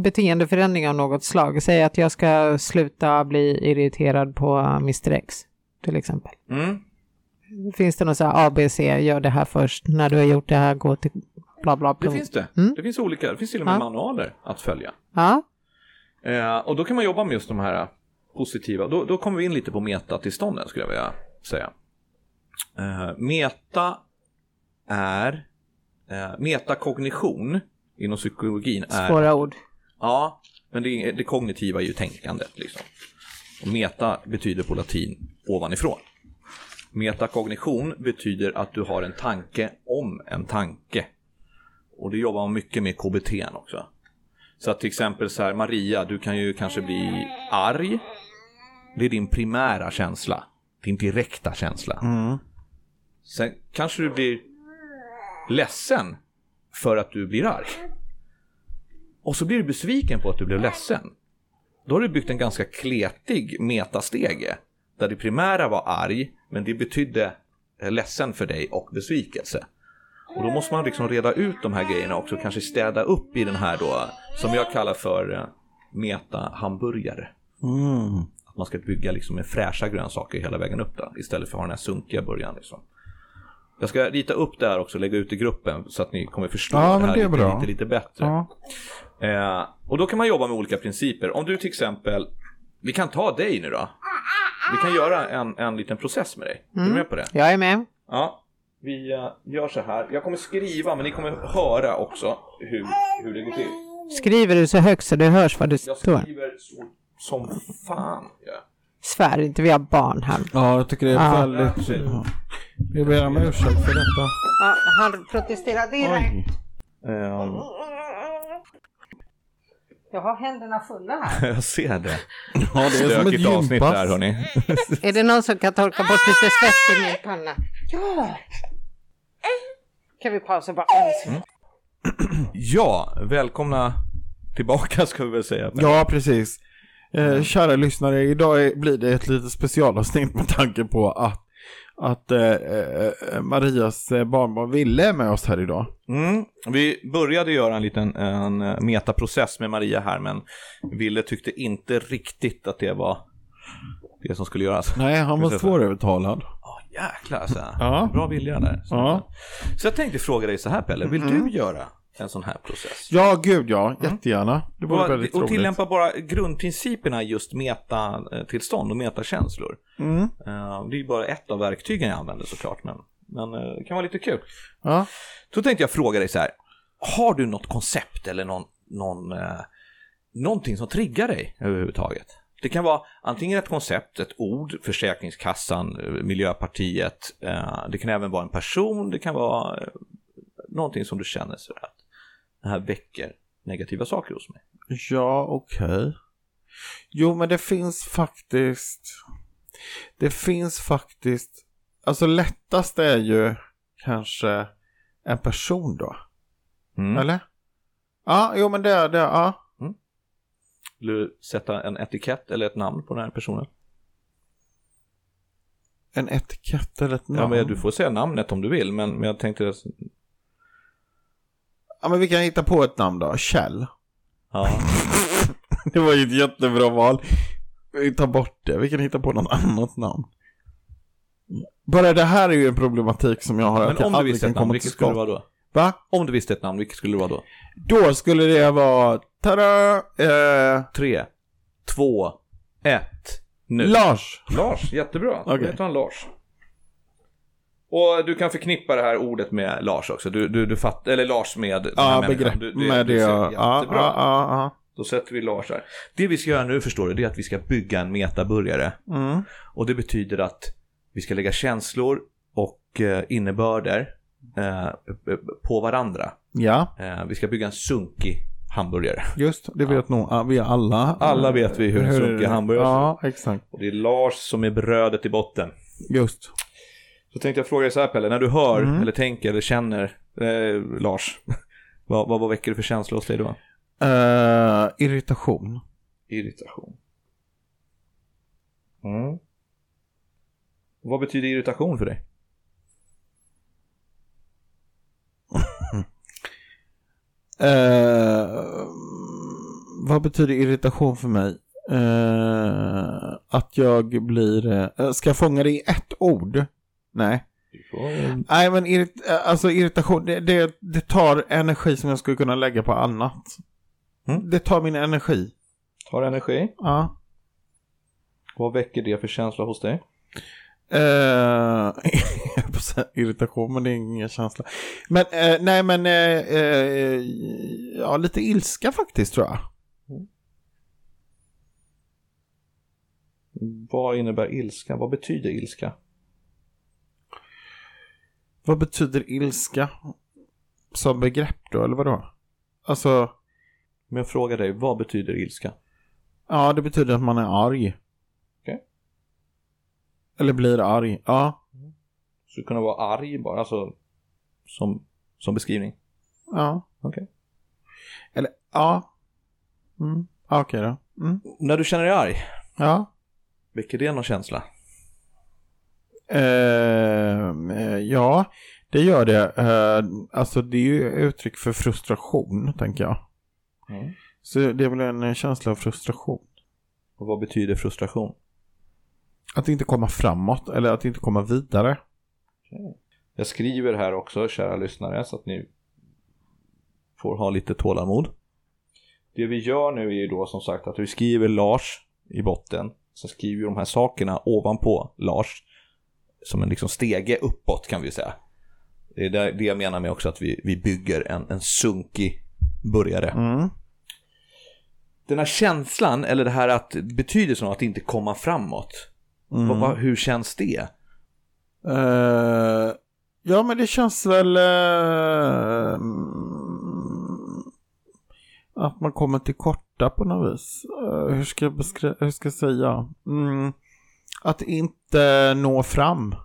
S2: beteendeförändring av något slag. Säg att jag ska sluta bli irriterad på Mr X till exempel.
S1: Mm.
S2: Finns det något så här ABC, gör det här först, när du har gjort det här, gå till bla bla.
S1: Det
S2: punkt.
S1: finns det. Det finns olika, det finns till och med
S2: Ja.
S1: manualer att följa.
S2: Ja,
S1: Eh, och då kan man jobba med just de här positiva, då, då kommer vi in lite på metatillstånden skulle jag vilja säga. Eh, meta är, eh, metakognition inom psykologin är...
S2: Svåra ord.
S1: Ja, men det, det kognitiva är ju tänkandet liksom. Och meta betyder på latin ovanifrån. Metakognition betyder att du har en tanke om en tanke. Och det jobbar man mycket med KBT n också. Så att till exempel så här, Maria, du kan ju kanske bli arg. Det är din primära känsla. Din direkta känsla. Sen kanske du blir ledsen för att du blir arg. Och så blir du besviken på att du blev ledsen. Då har du byggt en ganska kletig metastege. Där det primära var arg, men det betydde eh, ledsen för dig och besvikelse. Och då måste man liksom reda ut de här grejerna också, kanske städa upp i den här då, som jag kallar för eh, meta-hamburgare.
S3: Mm.
S1: Att man ska bygga liksom med fräscha grönsaker hela vägen upp där, istället för att ha den här sunkiga början. Liksom. Jag ska rita upp det här också, lägga ut i gruppen, så att ni kommer förstå
S3: Ja,
S1: det
S3: men
S1: här
S3: det är
S1: lite,
S3: bra.
S1: lite, lite bättre.
S3: Ja.
S1: Eh, och då kan man jobba med olika principer. Om du till exempel, vi kan ta dig nu då. Vi kan göra en, en liten process med dig. Är du med på det?
S2: Jag är med.
S1: Ja. Vi eh, gör så här. Jag kommer skriva, men ni kommer höra också hur, hur det går till.
S2: Skriver du så högt så det hörs vad du
S1: Jag
S2: står?
S1: skriver så, som fan. Ja.
S2: Svär inte, vi har barn här.
S3: ja, jag tycker det är
S2: Ja.
S1: Ehm,
S3: väldigt... Ja. Ah. Jag ber om ursäkt för detta.
S2: Ja, han protesterade direkt.
S3: Oj.
S1: Ehm,
S2: Jag har händerna fulla här.
S1: jag ser det.
S3: Ja, det är som ett
S1: Stökigt avsnitt
S3: gympass.
S1: där hörni.
S2: är det någon som kan torka bort lite svett i min panna? Ah! Ja! Kan vi pausa bara?
S1: Ja, välkomna tillbaka ska vi väl säga.
S3: Ja, precis. Eh, kära lyssnare, idag är, blir det ett litet specialavsnitt med tanke på att, att eh, eh, Marias eh, barnbarn Ville är med oss här idag.
S1: Mm. Vi började göra en liten en eh, metaprocess med Maria här, men Ville tyckte inte riktigt att det var det som skulle göras.
S3: Nej, han var
S1: Precis.
S3: svårövertalad.
S1: Oh, jäklar alltså.
S3: Ja.
S1: Bra vilja där. Så.
S3: Ja. Mm.
S1: så jag tänkte fråga dig så här Pelle, vill du göra en sån här process?
S3: Ja, gud ja, jättegärna. Det vore väldigt
S1: Och, och
S3: roligt.
S1: tillämpa bara grundprinciperna i just metatillstånd och metakänslor.
S3: Mm.
S1: Eh, Det är ju bara ett av verktygen jag använder såklart, men, men eh, det kan vara lite kul.
S3: Ja.
S1: Då tänkte jag fråga dig så här. Har du något koncept eller någon, någon, eh, någonting som triggar dig överhuvudtaget? Det kan vara antingen ett koncept, ett ord, Försäkringskassan, eh, Miljöpartiet. Eh, det kan även vara en person, det kan vara eh, någonting som du känner så här att det här väcker negativa saker hos mig.
S3: Ja, okej. Jo, men det finns faktiskt... Det finns faktiskt... Alltså lättast är ju kanske en person då.
S1: Mm.
S3: Eller? Ja, jo men det är det. Ja.
S1: Vill du sätta en etikett eller ett namn på den här personen?
S3: En etikett eller ett namn.
S1: Ja, men du får säga namnet om du vill, men, men jag tänkte...
S3: ja, men vi kan hitta på ett namn då. Kjell.
S1: Ja.
S3: Det var ju ett jättebra val. Vi tar bort det. Vi kan hitta på något annat namn. Bara det här är ju en problematik som jag har. att
S1: Men
S3: jag
S1: om du
S3: aldrig
S1: visste
S3: kan
S1: ett namn,
S3: komma till
S1: vilket skulle det
S3: skott.
S1: vara då?
S3: Va?
S1: Om du visste ett namn, vilket skulle det vara då?
S3: Då skulle det vara... Tada! Eh,
S1: Tre, två, ett, nu.
S3: Lars.
S1: Lars, jättebra.
S3: Okej.
S1: Då heter han Lars. Och du kan förknippa det här ordet med Lars också. Du, du, du fattar, eller Lars med den här
S3: Ja,
S1: människan.
S3: begrepp
S1: Du- du-
S3: med
S1: du
S3: det.
S1: ser
S3: Ja, ja,
S1: jättebra.
S3: ja.
S1: Då sätter vi Lars här. Det vi ska göra nu förstår du, det är att vi ska bygga en metaburgare.
S3: ja. Mm.
S1: Och det betyder att vi ska lägga känslor och eh, innebörder eh, på varandra.
S3: Ja,
S1: Eh, vi ska bygga en sunkig hamburgare.
S3: just det vet nog ja, vi alla.
S1: Alla vet vi hur en sunkig hamburgare ser
S3: Ja, exakt.
S1: Och det är Lars som är brödet i botten.
S3: Just.
S1: Så tänkte jag fråga dig så här Pelle, när du hör eller tänker eller känner eh, Lars, vad, vad, vad väcker det för känslor hos dig då?
S3: Eh, irritation.
S1: Irritation. Mm. Vad betyder irritation för dig?
S3: Eh, vad betyder irritation för mig? Eh, att jag blir... eh, ska jag fånga det i ett ord? Nej. Nej, men irrit, eh, alltså irritation, det, det, det tar energi som jag skulle kunna lägga på annat.
S1: Mm.
S3: Det tar min energi.
S1: Tar energi.
S3: Ja.
S1: Vad väcker det för känsla hos dig?
S3: Eh, jag höll på att säga irritation, men det är ingen känsla. Men eh, nej, men eh, eh, ja, lite ilska faktiskt tror jag.
S1: Vad innebär ilska? Vad betyder ilska?
S3: Vad betyder ilska som begrepp då, eller vadå? Alltså,
S1: Men jag frågar dig, vad betyder ilska?
S3: ja, det betyder att man är arg.
S1: Okej.
S3: Eller blir arg, ja.
S1: Skulle kunna vara arg bara, alltså som, som beskrivning.
S3: ja.
S1: Okej.
S3: Eller, ja. Mm. ja, Okej då. Mm.
S1: När du känner dig arg,
S3: Ja.
S1: väcker det någon känsla?
S3: Ehm, eh, ja, det gör det. Eh, alltså det är ju uttryck för frustration, tänker jag.
S1: Mm.
S3: Så det är väl en eh, känsla av frustration.
S1: Och vad betyder frustration?
S3: Att inte komma framåt eller att inte komma vidare.
S1: Jag skriver här också, kära lyssnare, så att ni får ha lite tålamod. Det vi gör nu är ju då som sagt att vi skriver Lars i botten. Sen skriver vi de här sakerna ovanpå Lars. Som en liksom stege uppåt kan vi säga. Det är där- det jag menar med också att vi, vi bygger en, en sunkig börjare.
S3: Mm.
S1: Den här känslan, eller det här att betydelsen av att inte komma framåt. Vad,
S3: Mm.
S1: vad, hur känns det?
S3: Eh, ja, men det känns väl eh, mm, att man kommer till korta på något vis. Eh, hur, ska jag beskri- hur ska jag säga? Mm, att inte nå fram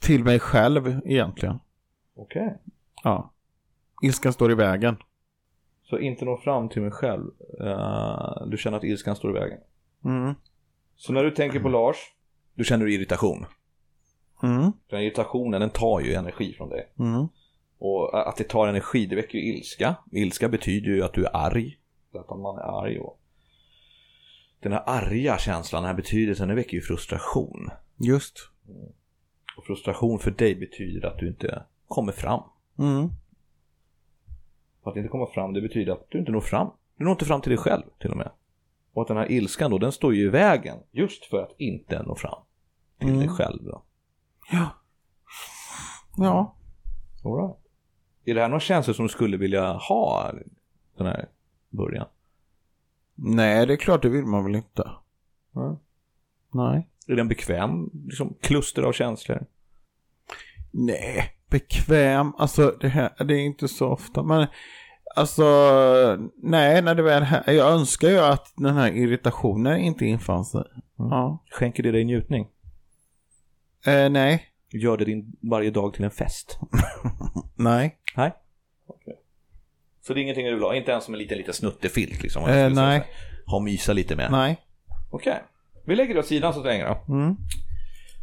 S3: till mig själv egentligen.
S1: Okej.
S3: Ja. Ilskan står i vägen.
S1: Så inte nå fram till mig själv. Eh, du känner att ilskan står i vägen.
S3: Mm.
S1: Så när du tänker på Lars, då känner Mm. du irritation.
S3: Mm.
S1: Den här irritationen den tar ju energi från dig.
S3: Mm.
S1: Och att det tar energi, det väcker ju ilska. Ilska betyder ju att du är arg. Att man är arg och... Den här arga känslan, den här betydelsen, den väcker ju frustration.
S3: Just.
S1: Och frustration för dig betyder att du inte kommer fram.
S3: Mm.
S1: Och att inte komma fram, det betyder att du inte når fram. Du når inte fram till dig själv till och med. Och att den här ilskan då, den står ju i vägen just för att inte nå fram till
S3: Mm.
S1: dig själv. Då.
S3: Ja. Ja.
S1: All right. Är det här några känslor som du skulle vilja ha? Den här början.
S3: Nej, det är klart det vill man väl inte.
S1: Mm.
S3: Nej.
S1: Är det en bekväm liksom, kluster av känslor?
S3: Nej, bekväm. Alltså det här, det är inte så ofta. Men alltså, nej, när det väl här. Jag önskar ju att den här irritationen inte infann sig. Ja.
S1: Skänker det dig njutning?
S3: Eh, nej.
S1: Gör det din varje dag till en fest?
S3: Nej.
S1: Nej. Så det är ingenting du vill ha? Inte ens som en liten, liten snuttefilt? Liksom, om jag
S3: Eh,
S1: skulle säga
S3: nej.
S1: så här. Ha och mysa lite med?
S3: Nej.
S1: Okej. Vi lägger det åt sidan så länge då.
S3: Mm.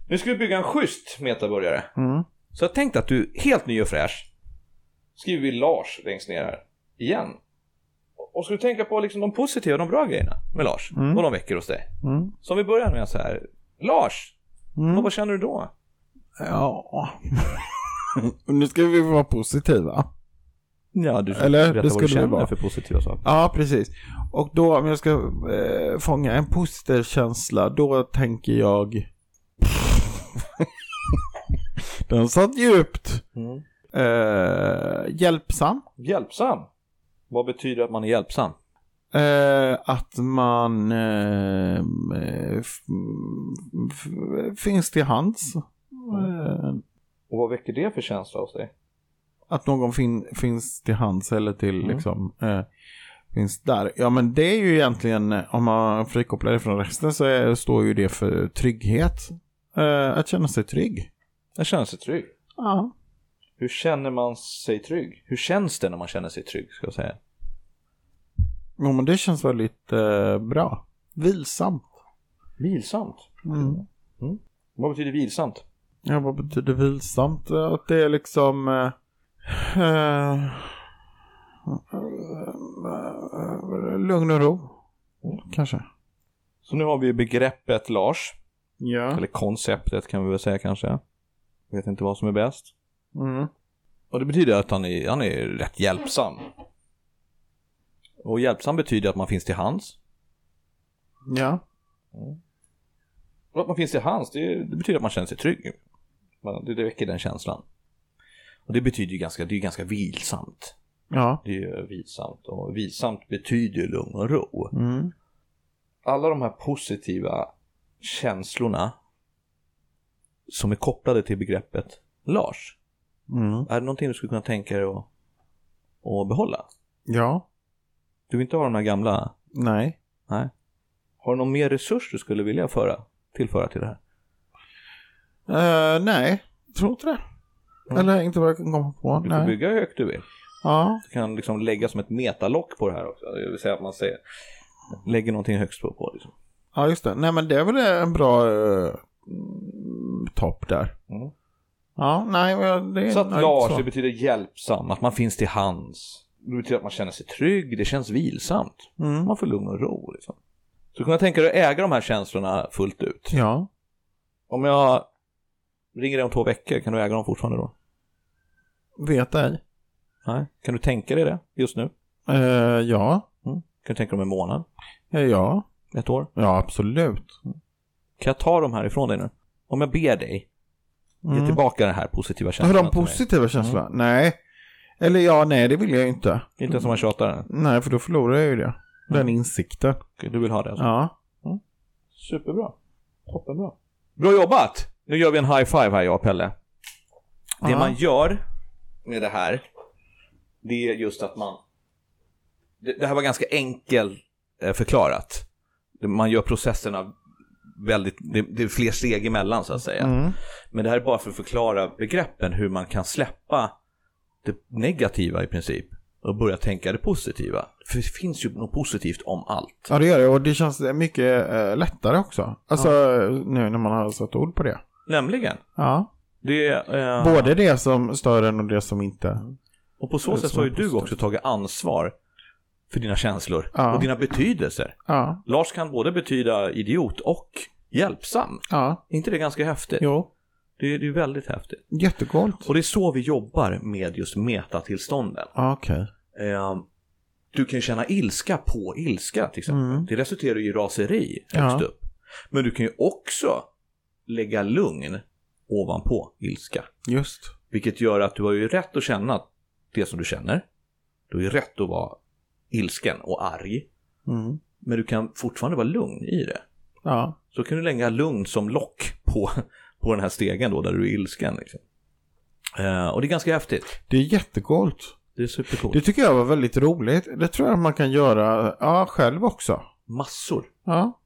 S1: Nu ska vi bygga en schysst metabörjare.
S3: Mm.
S1: Så jag tänkte att du, helt ny och fräsch, skriver vi Lars längst ner här, igen. Och ska du tänka på liksom de positiva, de bra grejerna med Lars, vad de väcker hos dig.
S3: Mm.
S1: Som vi börjar med så här, Lars,
S3: Mm.
S1: vad- vad känner du då?
S3: Ja. nu ska vi vara positiva.
S1: Ja, du
S3: Eller, det skulle
S1: du
S3: det
S1: känner
S3: vara.
S1: för positiva saker.
S3: Ja, precis. Och då om jag ska eh, fånga en positiv känsla, då tänker jag... Den satt djupt.
S1: Mm.
S3: Eh, hjälpsam.
S1: Hjälpsam. Vad betyder att man är hjälpsam?
S3: Eh, att man eh, eh, f- f- finns till hands. Eh,
S1: Och vad väcker det för känsla hos dig?
S3: att någon fin, finns till hands eller till
S1: Mm.
S3: liksom eh, finns där. Ja men det är ju egentligen eh, om man frikopplar det från resten så är, står ju det för trygghet. Eh, att känna sig trygg.
S1: Jag känner sig trygg.
S3: Ja.
S1: Hur känner man sig trygg? Hur känns det när man känner sig trygg, ska jag säga?
S3: Jo men det känns väldigt eh, bra. Vilsamt.
S1: Vilsamt.
S3: Mm.
S1: Vad betyder vilsamt?
S3: Ja vad betyder vilsamt? Eh, Att det är liksom eh, eh, eh, lugn och ro. Kanske.
S1: Så nu har vi begreppet Lars.
S3: Ja.
S1: Eller konceptet kan vi väl säga kanske. Vet inte vad som är bäst.
S3: Mm.
S1: Och det betyder att han är, han är rätt hjälpsam. Och hjälpsam betyder att man finns till hands.
S3: Ja.
S1: Och att man finns till hands, det, det betyder att man känner sig trygg. Man- Det, det väcker den känslan. Och det betyder ju ganska, det är ju ganska vilsamt.
S3: Ja.
S1: Det är ju vilsamt och vilsamt betyder lugn och ro.
S3: Mm.
S1: Alla de här positiva känslorna som är kopplade till begreppet Lars.
S3: Mm.
S1: Är det någonting du skulle kunna tänka dig att, att behålla?
S3: Ja.
S1: Du vill inte ha de här gamla?
S3: Nej.
S1: Nej. Har du någon mer resurs du skulle vilja föra, tillföra till det här?
S3: Eh, nej. Tror inte det. Eller inte vad jag kan komma på.
S1: Du Mm. får
S3: Nej.
S1: bygga hur högt du vill.
S3: Ja.
S1: Du kan liksom lägga som ett metalock på det här också. Det vill säga att man säger, lägger någonting högst på. på liksom.
S3: ja, just det. Nej, men det är väl en bra eh, mm, topp där.
S1: Mm.
S3: Ja, nej. men Det är
S1: Så att
S3: nej,
S1: Lars,
S3: så.
S1: det betyder hjälpsam, att man finns till hands. Det betyder att man känner sig trygg, det känns vilsamt.
S3: Mm.
S1: Man får lugn och ro liksom. Så kan jag tänka dig att äga de här känslorna fullt ut.
S3: Ja.
S1: Om jag ringer dig om två veckor, kan du äga dem fortfarande då?
S3: Vet ej.
S1: Nej. Kan du tänka dig det just nu?
S3: Eh, ja.
S1: Kan du tänka dig om en månad?
S3: Eh, Ja.
S1: Ett år?
S3: Ja, absolut.
S1: Kan jag ta de här ifrån dig nu? Om jag ber dig, ge
S3: Mm.
S1: tillbaka den här positiva
S3: Har
S1: typ känslan
S3: de
S1: till mig.
S3: positiva känslorna? Nej. Eller ja, nej, det vill jag ju inte.
S1: Inte ens om man tjatar.
S3: Nej, för då förlorar jag ju det. Den insikten.
S1: Du vill ha det alltså?
S3: Ja.
S1: Superbra. Toppenbra. Bra jobbat! Nu gör vi en high five här jag och Pelle. Det
S3: Ja.
S1: man gör med det här, det är just att man... Det, det här var ganska enkelt eh, förklarat. Det- Man gör processerna väldigt... Det, det är fler steg emellan så att säga.
S3: Mm.
S1: Men det här är bara för att förklara begreppen, hur man kan släppa det negativa i princip och börja tänka det positiva. För det finns ju något positivt om allt.
S3: Ja, det gör det. Och det känns mycket eh, lättare också. Alltså nu när man har satt ord på det.
S1: Nämligen,
S3: Ja.
S1: det är... eh,
S3: Både det som stör en och det som inte.
S1: Och på så
S3: Det är
S1: sätt
S3: som
S1: så har
S3: är
S1: ju du
S3: positivt.
S1: också tagit ansvar för dina känslor
S3: Ja.
S1: och dina betydelser.
S3: Ja.
S1: Lars kan både betyda idiot och hjälpsam.
S3: Ja.
S1: Är inte det ganska häftigt?
S3: Jo.
S1: Det, är, det är väldigt häftigt.
S3: Jättegott.
S1: Och det är så vi jobbar med just metatillstånden.
S3: Ja, okej.
S1: Ehm, du kan ju känna ilska på ilska till exempel.
S3: Mm.
S1: Det resulterar ju i raseri
S3: Ja.
S1: högst upp. Men du kan ju också lägga lugn ovanpå ilska.
S3: Just.
S1: Vilket gör att du har ju rätt att känna det som du känner. Du har ju rätt att vara ilsken och arg.
S3: Mm.
S1: Men du kan fortfarande vara lugn i det.
S3: Ja.
S1: Så kan du lägga lugn som lock på, på den här stegen då där du är ilsken. Liksom. Eh, och det är ganska häftigt.
S3: Det är jättegott.
S1: Det är supercoolt.
S3: Det tycker jag var väldigt roligt. Det tror jag man kan göra ja, själv också.
S1: Massor.
S3: Ja.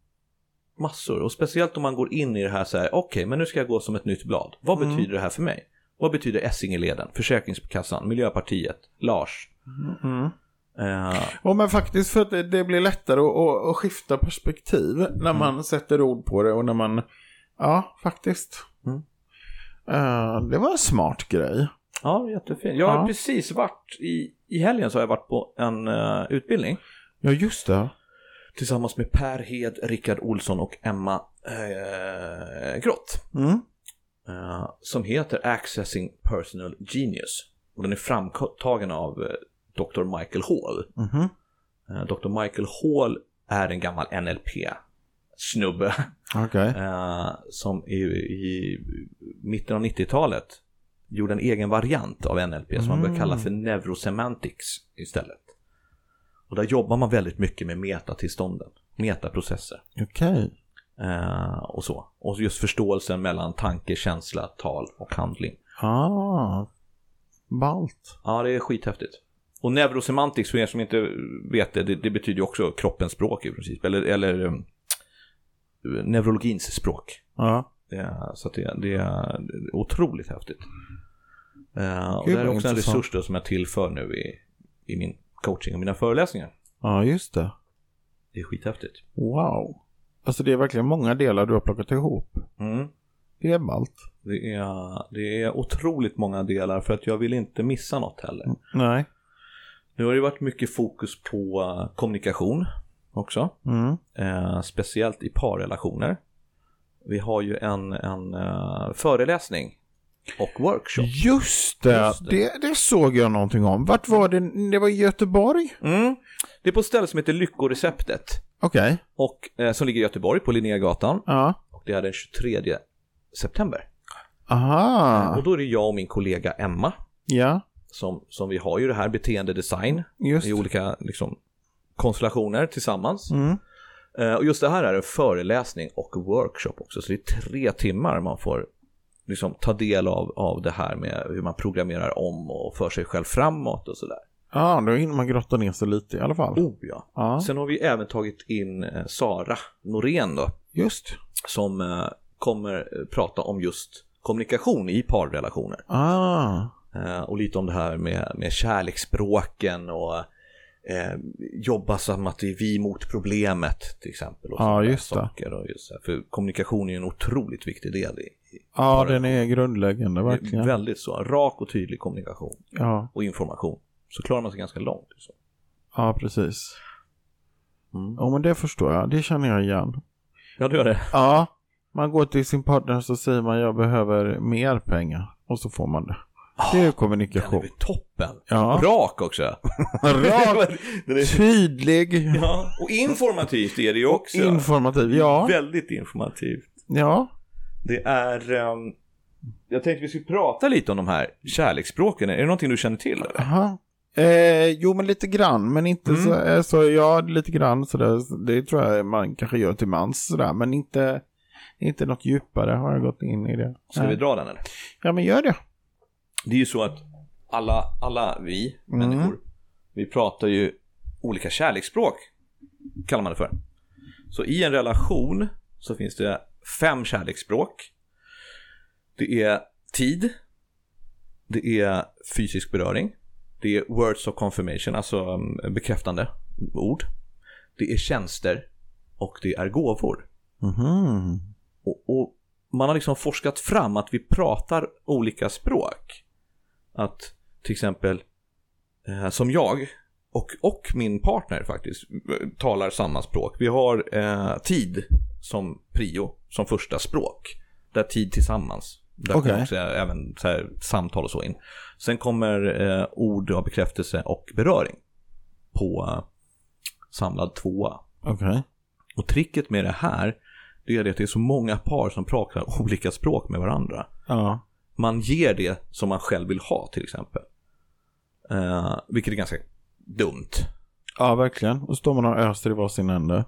S1: Massor. Och speciellt om man går in i det här så här, okej, men nu ska jag gå som ett nytt blad. Vad
S3: Mm.
S1: betyder det här för mig? Vad betyder Essingeleden, Försäkringskassan, Miljöpartiet, Lars?
S3: Mm.
S1: Eh,
S3: Och men faktiskt för att det, det blir lättare att, att, att skifta perspektiv när man sätter ord på det och när man... Ja, faktiskt.
S1: Mm.
S3: Eh, det var en smart grej.
S1: Ja, jättefint. Jag har
S3: Ja.
S1: precis varit i, i helgen så har jag varit på en eh, utbildning
S3: Ja, just det.
S1: tillsammans med Per Hed, Rickard Olsson och Emma eh, Grott
S3: Mm.
S1: eh, som heter Accessing Personal Genius. Och den är framtagen av eh, Dr. Michael Hall.
S3: Mhm.
S1: Eh, Dr. Michael Hall är en gammal NLP-snubbe
S3: Okej.
S1: eh, som i, i mitten av 90-talet gjorde en egen variant av NLP som man började kalla för neurosemantics istället. Och där jobbar man väldigt mycket med metatillstånden, metaprocesser
S3: Okej.
S1: eh, och så. Och just förståelsen mellan tanke, känsla, tal och handling.
S3: Ah. Balt.
S1: Ja, det är skithäftigt. Och neurosemantics, för er som inte vet det, det, det betyder ju också kroppens språk i princip, eller, eller eh, neurologins språk.
S3: Ja.
S1: Det är, så att det, det är otroligt häftigt. Eh, och
S3: Gud,
S1: det är
S3: vad
S1: också en
S3: intressant.
S1: resurs då som jag tillför nu i, i min coaching och mina föreläsningar.
S3: Ja, just det.
S1: Det är skithäftigt.
S3: Wow. Alltså det är verkligen många delar du har plockat ihop.
S1: Mm.
S3: Det är balt.
S1: Det, är, det är otroligt många delar för att jag vill inte missa något heller.
S3: Mm. Nej.
S1: Nu har det varit mycket fokus på eh, kommunikation också.
S3: Mm.
S1: eh, speciellt i parrelationer. Vi har ju en, en eh, föreläsning och workshop.
S3: Just det.
S1: Just
S3: det. Det såg jag någonting om. Vart var det? Det var i Göteborg?
S1: Mm. Det är på ett ställe som heter Lyckoreceptet
S3: Okej.
S1: och eh, som ligger i Göteborg på Linnégatan.
S3: Ja.
S1: Och det är den 23 september.
S3: Aha, Ah.
S1: Och då är det jag och min kollega Emma
S3: ja,
S1: som, som vi har ju det här beteendedesign
S3: just.
S1: i olika liksom, konstellationer tillsammans.
S3: Mm.
S1: Eh, och just det här är en föreläsning och workshop också, så det är tre timmar man får liksom, ta del av, av det här med hur man programmerar om och för sig själv framåt och sådär.
S3: Ja, då hinner man grotta ner sig lite i alla fall.
S1: Oh ja.
S3: Ja,
S1: Sen har vi även tagit in eh, Sara Norén då,
S3: just.
S1: som eh, kommer eh, prata om just kommunikation i parrelationer.
S3: Ah,
S1: Eh, och lite om det här med, med kärleksspråken och eh, jobba som att det är vi mot problemet till exempel. Och
S3: Ja,
S1: sådana där
S3: just det.
S1: saker och just, så här. för kommunikation är ju en otroligt viktig del. I,
S3: ja den är grundläggande
S1: i,
S3: verkligen.
S1: väldigt så, rak och tydlig kommunikation
S3: Ja,
S1: och information. Så klarar man sig ganska långt. liksom. Så.
S3: ja precis.
S1: Mm.
S3: Ja, men det förstår jag. Det känner jag igen.
S1: Ja, du gör det.
S3: Ja, man går till sin partner så säger man jag behöver mer pengar och så får man det. Det
S1: Ah,
S3: är ju
S1: Den är
S3: kommunikation.
S1: väl toppen.
S3: Ja.
S1: Rak också.
S3: Rak,
S1: Den är-
S3: tydlig,
S1: ja. Och informativt är det ju också.
S3: informativ. Ja,
S1: Väldigt informativt.
S3: ja.
S1: Det är... ehm, jag tänkte vi skulle prata lite om de här kärleksspråken. Är det någonting du känner till? Eller?
S3: Aha. Eh, jo, men lite grann, men inte så, eh, så, ja, lite grann sådär, det tror jag man kanske gör till mans sådär, men inte, inte något djupare har jag gått in i det.
S1: Ska vi
S3: Nej.
S1: dra den eller?
S3: Ja, men gör det.
S1: Det är ju så att alla, alla vi
S3: Mm.
S1: människor, vi pratar ju olika kärleksspråk, kallar man det för. Så i en relation så finns det fem kärleksspråk. Det är tid, det är fysisk beröring, det är words of confirmation, alltså mm, bekräftande ord, det är tjänster och det är gåvor.
S3: Mhm.
S1: Och, och man har liksom forskat fram att vi pratar olika språk. Att till exempel eh, som jag och, och min partner faktiskt eh, talar samma språk. Vi har eh, tid som prio, som första språk. Där tid tillsammans. Där
S3: Okej.
S1: kommer också även så här, samtal och så in. Sen kommer eh, ord av bekräftelse och beröring på eh, samlad tvåa.
S3: Okej.
S1: Och tricket med det här, det är det att det är så många par som pratar olika språk med varandra.
S3: Ja.
S1: Man ger det som man själv vill ha till exempel. Eh, vilket är ganska dumt.
S3: ja, verkligen. Och så står man och öser i varsin ände.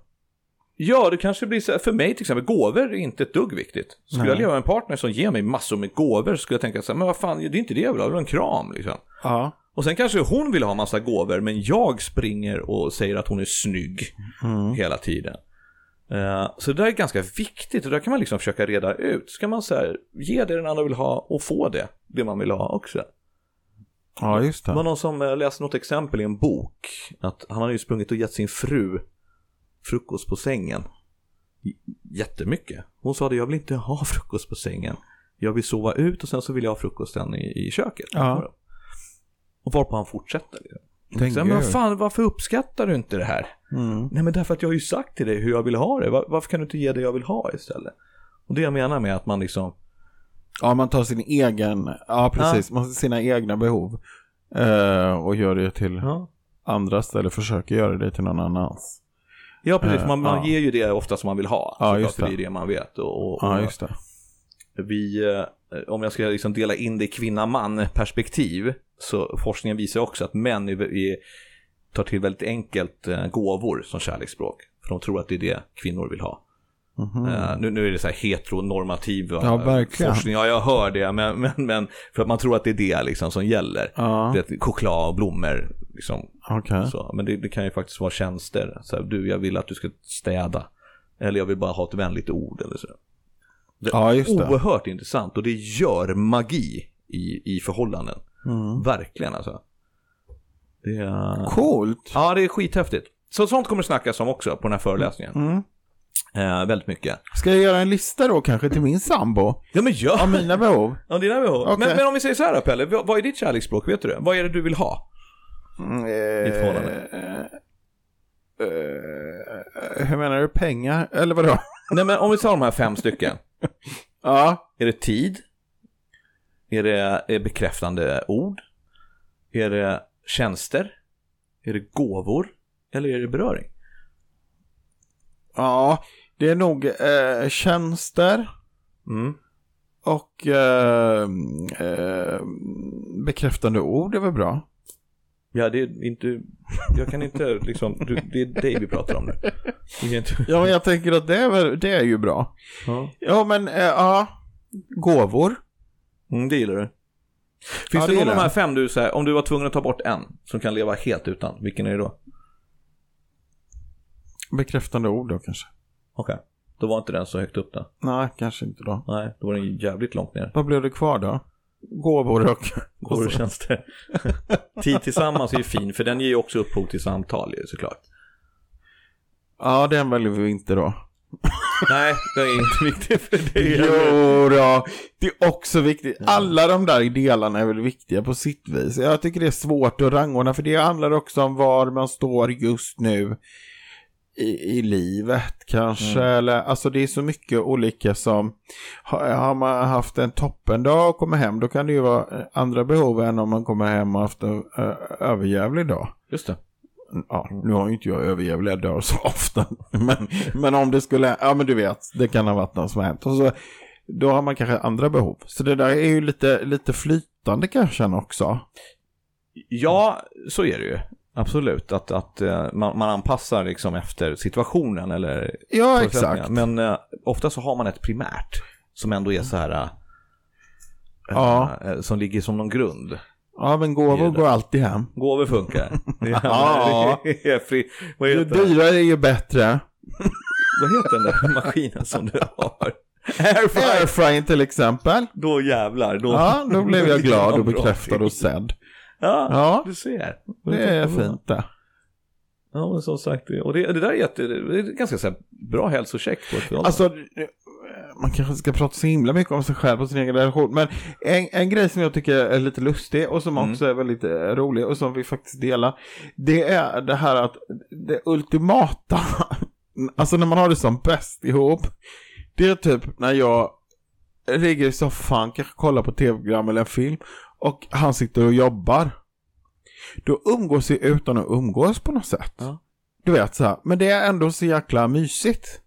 S1: Ja, det kanske blir så här, för mig till exempel, gåvor är inte ett dugg viktigt. Skulle
S3: Nej.
S1: jag leva med en partner som ger mig massor med gåvor så skulle jag tänka så här, men vad fan, det är inte det jag vill ha, jag vill ha en kram liksom.
S3: Ja.
S1: Och sen kanske hon vill ha massa gåvor, men jag springer och säger att hon är snygg
S3: Mm.
S1: hela tiden. Eh, Så det där är ganska viktigt och där kan man liksom försöka reda ut. Ska man så här, ge det den andra vill ha och få det, det man vill ha också.
S3: Ja, just
S1: Det var
S3: det.
S1: någon som eh, läste något exempel i en bok, att han hade ju sprungit och gett sin fru frukost på sängen. J- Jättemycket. Hon sa det, jag vill inte ha frukost på sängen. Jag vill sova ut och sen så vill jag ha frukosten i, i köket.
S3: Ja.
S1: Och varpå han fortsätter.
S3: Tänk
S1: Så här, men
S3: Gud.
S1: vad fan, varför uppskattar du inte det här?
S3: Mm.
S1: Nej men därför att jag har ju sagt till dig hur jag vill ha det. Var, varför kan du inte ge det jag vill ha istället? Och det jag menar med att man liksom,
S3: Ja, man tar sin egen, ja precis, man sina egna behov. Eh, och gör det till
S1: ja,
S3: andras eller försöker göra det till någon annans.
S1: ja precis,
S3: Eh,
S1: man, man
S3: ja.
S1: ger ju det ofta som man vill ha.
S3: Ja,
S1: såklart,
S3: just
S1: för
S3: det.
S1: det är det man vet. Och, och,
S3: Ja, just det.
S1: och vi, eh, om jag ska liksom dela in det i kvinna-man perspektiv, så forskningen visar också att män är, är, tar till väldigt enkelt eh, gåvor som kärleksspråk. För de tror att det är det kvinnor vill ha.
S3: Mhm.
S1: Eh, nu, nu är det så här heteronormativ eh,
S3: Ja, verkligen.
S1: forskning, ja jag hör det, men, men, men för att man tror att det är det liksom som gäller.
S3: Ja,
S1: Du vet, choklad och blommor. Liksom,
S3: okej.
S1: så. Men det, det kan ju faktiskt vara tjänster. Så här, du, jag vill att du ska städa. Eller jag vill bara ha ett vänligt ord. Eller så. Det,
S3: Ja, just det.
S1: Oerhört intressant och det gör magi i, i förhållanden.
S3: Mm.
S1: Verkligen alltså. Det är...
S3: Coolt.
S1: Ja, det är skithäftigt. Så sånt kommer det snackas om också på den här föreläsningen.
S3: Mm.
S1: Eh, väldigt mycket.
S3: Ska jag göra en lista då kanske till min sambo?
S1: Ja, men gör!
S3: Av mina behov?
S1: Ja, dina behov.
S3: Okej.
S1: Men, men om vi säger så här då, Pelle, vad vad är ditt kärleksspråk? Vet du det? Vad är det du vill ha?
S3: Mm, eh,
S1: Ditt förhållande.
S3: hur menar du? Pengar? Eller vadå?
S1: Nej, men om vi tar de här fem stycken.
S3: Ja.
S1: Är det tid? Är det är bekräftande ord? Är det tjänster? Är det gåvor? Eller är det beröring?
S3: Ja. Det är nog eh, tjänster
S1: Mm.
S3: och eh, eh, bekräftande ord är väl bra.
S1: Ja, det är inte, jag kan inte liksom, du, det är dig vi pratar om nu. Det är inte,
S3: Ja, men jag tänker att det är, väl, det är ju bra.
S1: ja.
S3: Ja, men eh, ja, gåvor.
S1: mm, det gillar du. Finns det
S3: Ja, det
S1: någon av
S3: gillar
S1: de här
S3: jag.
S1: fem du säger, om du var tvungen att ta bort en som kan leva helt utan, vilken är det då?
S3: Bekräftande ord då kanske.
S1: Okej, då var inte den så högt upp då.
S3: Nej, kanske inte då.
S1: Nej, då var den jävligt långt ner.
S3: Vad blev det kvar då? Gåvor och...
S1: Går och tjänster. Alltså. Tid tillsammans är ju fin, för den ger ju också upphov till samtal ju såklart.
S3: Ja, den väljer vi inte då.
S1: Nej, det är inte viktigt för det. är-
S3: Jo då, det är också viktigt. Alla de där delarna är väl viktiga på sitt vis. Jag tycker det är svårt att rangordna för det handlar också om var man står just nu i, i livet kanske. Eller, alltså det är så mycket olika som, har, har man haft en toppendag och kommer hem då kan det ju vara eh, andra behov än om man kommer hem och haft en ö, överjävlig dag.
S1: Just det.
S3: Ja, Mm. nu har ju inte jag överjävliga dagar så ofta. Men, men om det skulle, ja men du vet, det kan ha varit något som har hänt. Och så, då har man kanske andra behov. Så det där är ju lite, lite flytande kanske också.
S1: Ja, så är det ju. Absolut, att, att eh, man, man anpassar liksom efter situationen eller
S3: Ja,
S1: förutsättningarna.
S3: exakt.
S1: Men eh, ofta så har man ett primärt som ändå är så här, eh,
S3: Ja.
S1: eh, som ligger som någon grund.
S3: Ja, men gåvor går alltid hem.
S1: Gåvor funkar.
S3: Ja.
S1: Det är fri- Vad
S3: Ju
S1: heter den?
S3: dyrare är ju bättre.
S1: Vad heter den där maskinen som du har? Airfryer.
S3: Airfrying till exempel.
S1: Då jävlar. Då,
S3: Ja, då blev jag
S1: ligger
S3: glad
S1: man
S3: och
S1: bra
S3: bekräftad
S1: till.
S3: och sedd.
S1: Ja,
S3: Ja,
S1: du ser.
S3: det är fint det.
S1: Ja, men som sagt. Och det, det där är, jätte, det är ganska så här, bra hälsocheck på ett alltså,
S3: Alltså, eh, man kanske inte ska prata så himla mycket om sig själv och sin egen relation. Men en, en grej som jag tycker är lite lustig och som
S1: Mm.
S3: också är väldigt eh, rolig och som vi faktiskt delar. Det är det här att det ultimata, alltså när man har det som bäst ihop. Det är typ när jag ligger i soffan, kanske kollar på tv-program eller en film och han sitter och jobbar. Då umgås vi utan att umgås på något sätt.
S1: Ja.
S3: Du vet så här, men det är ändå så jäkla mysigt.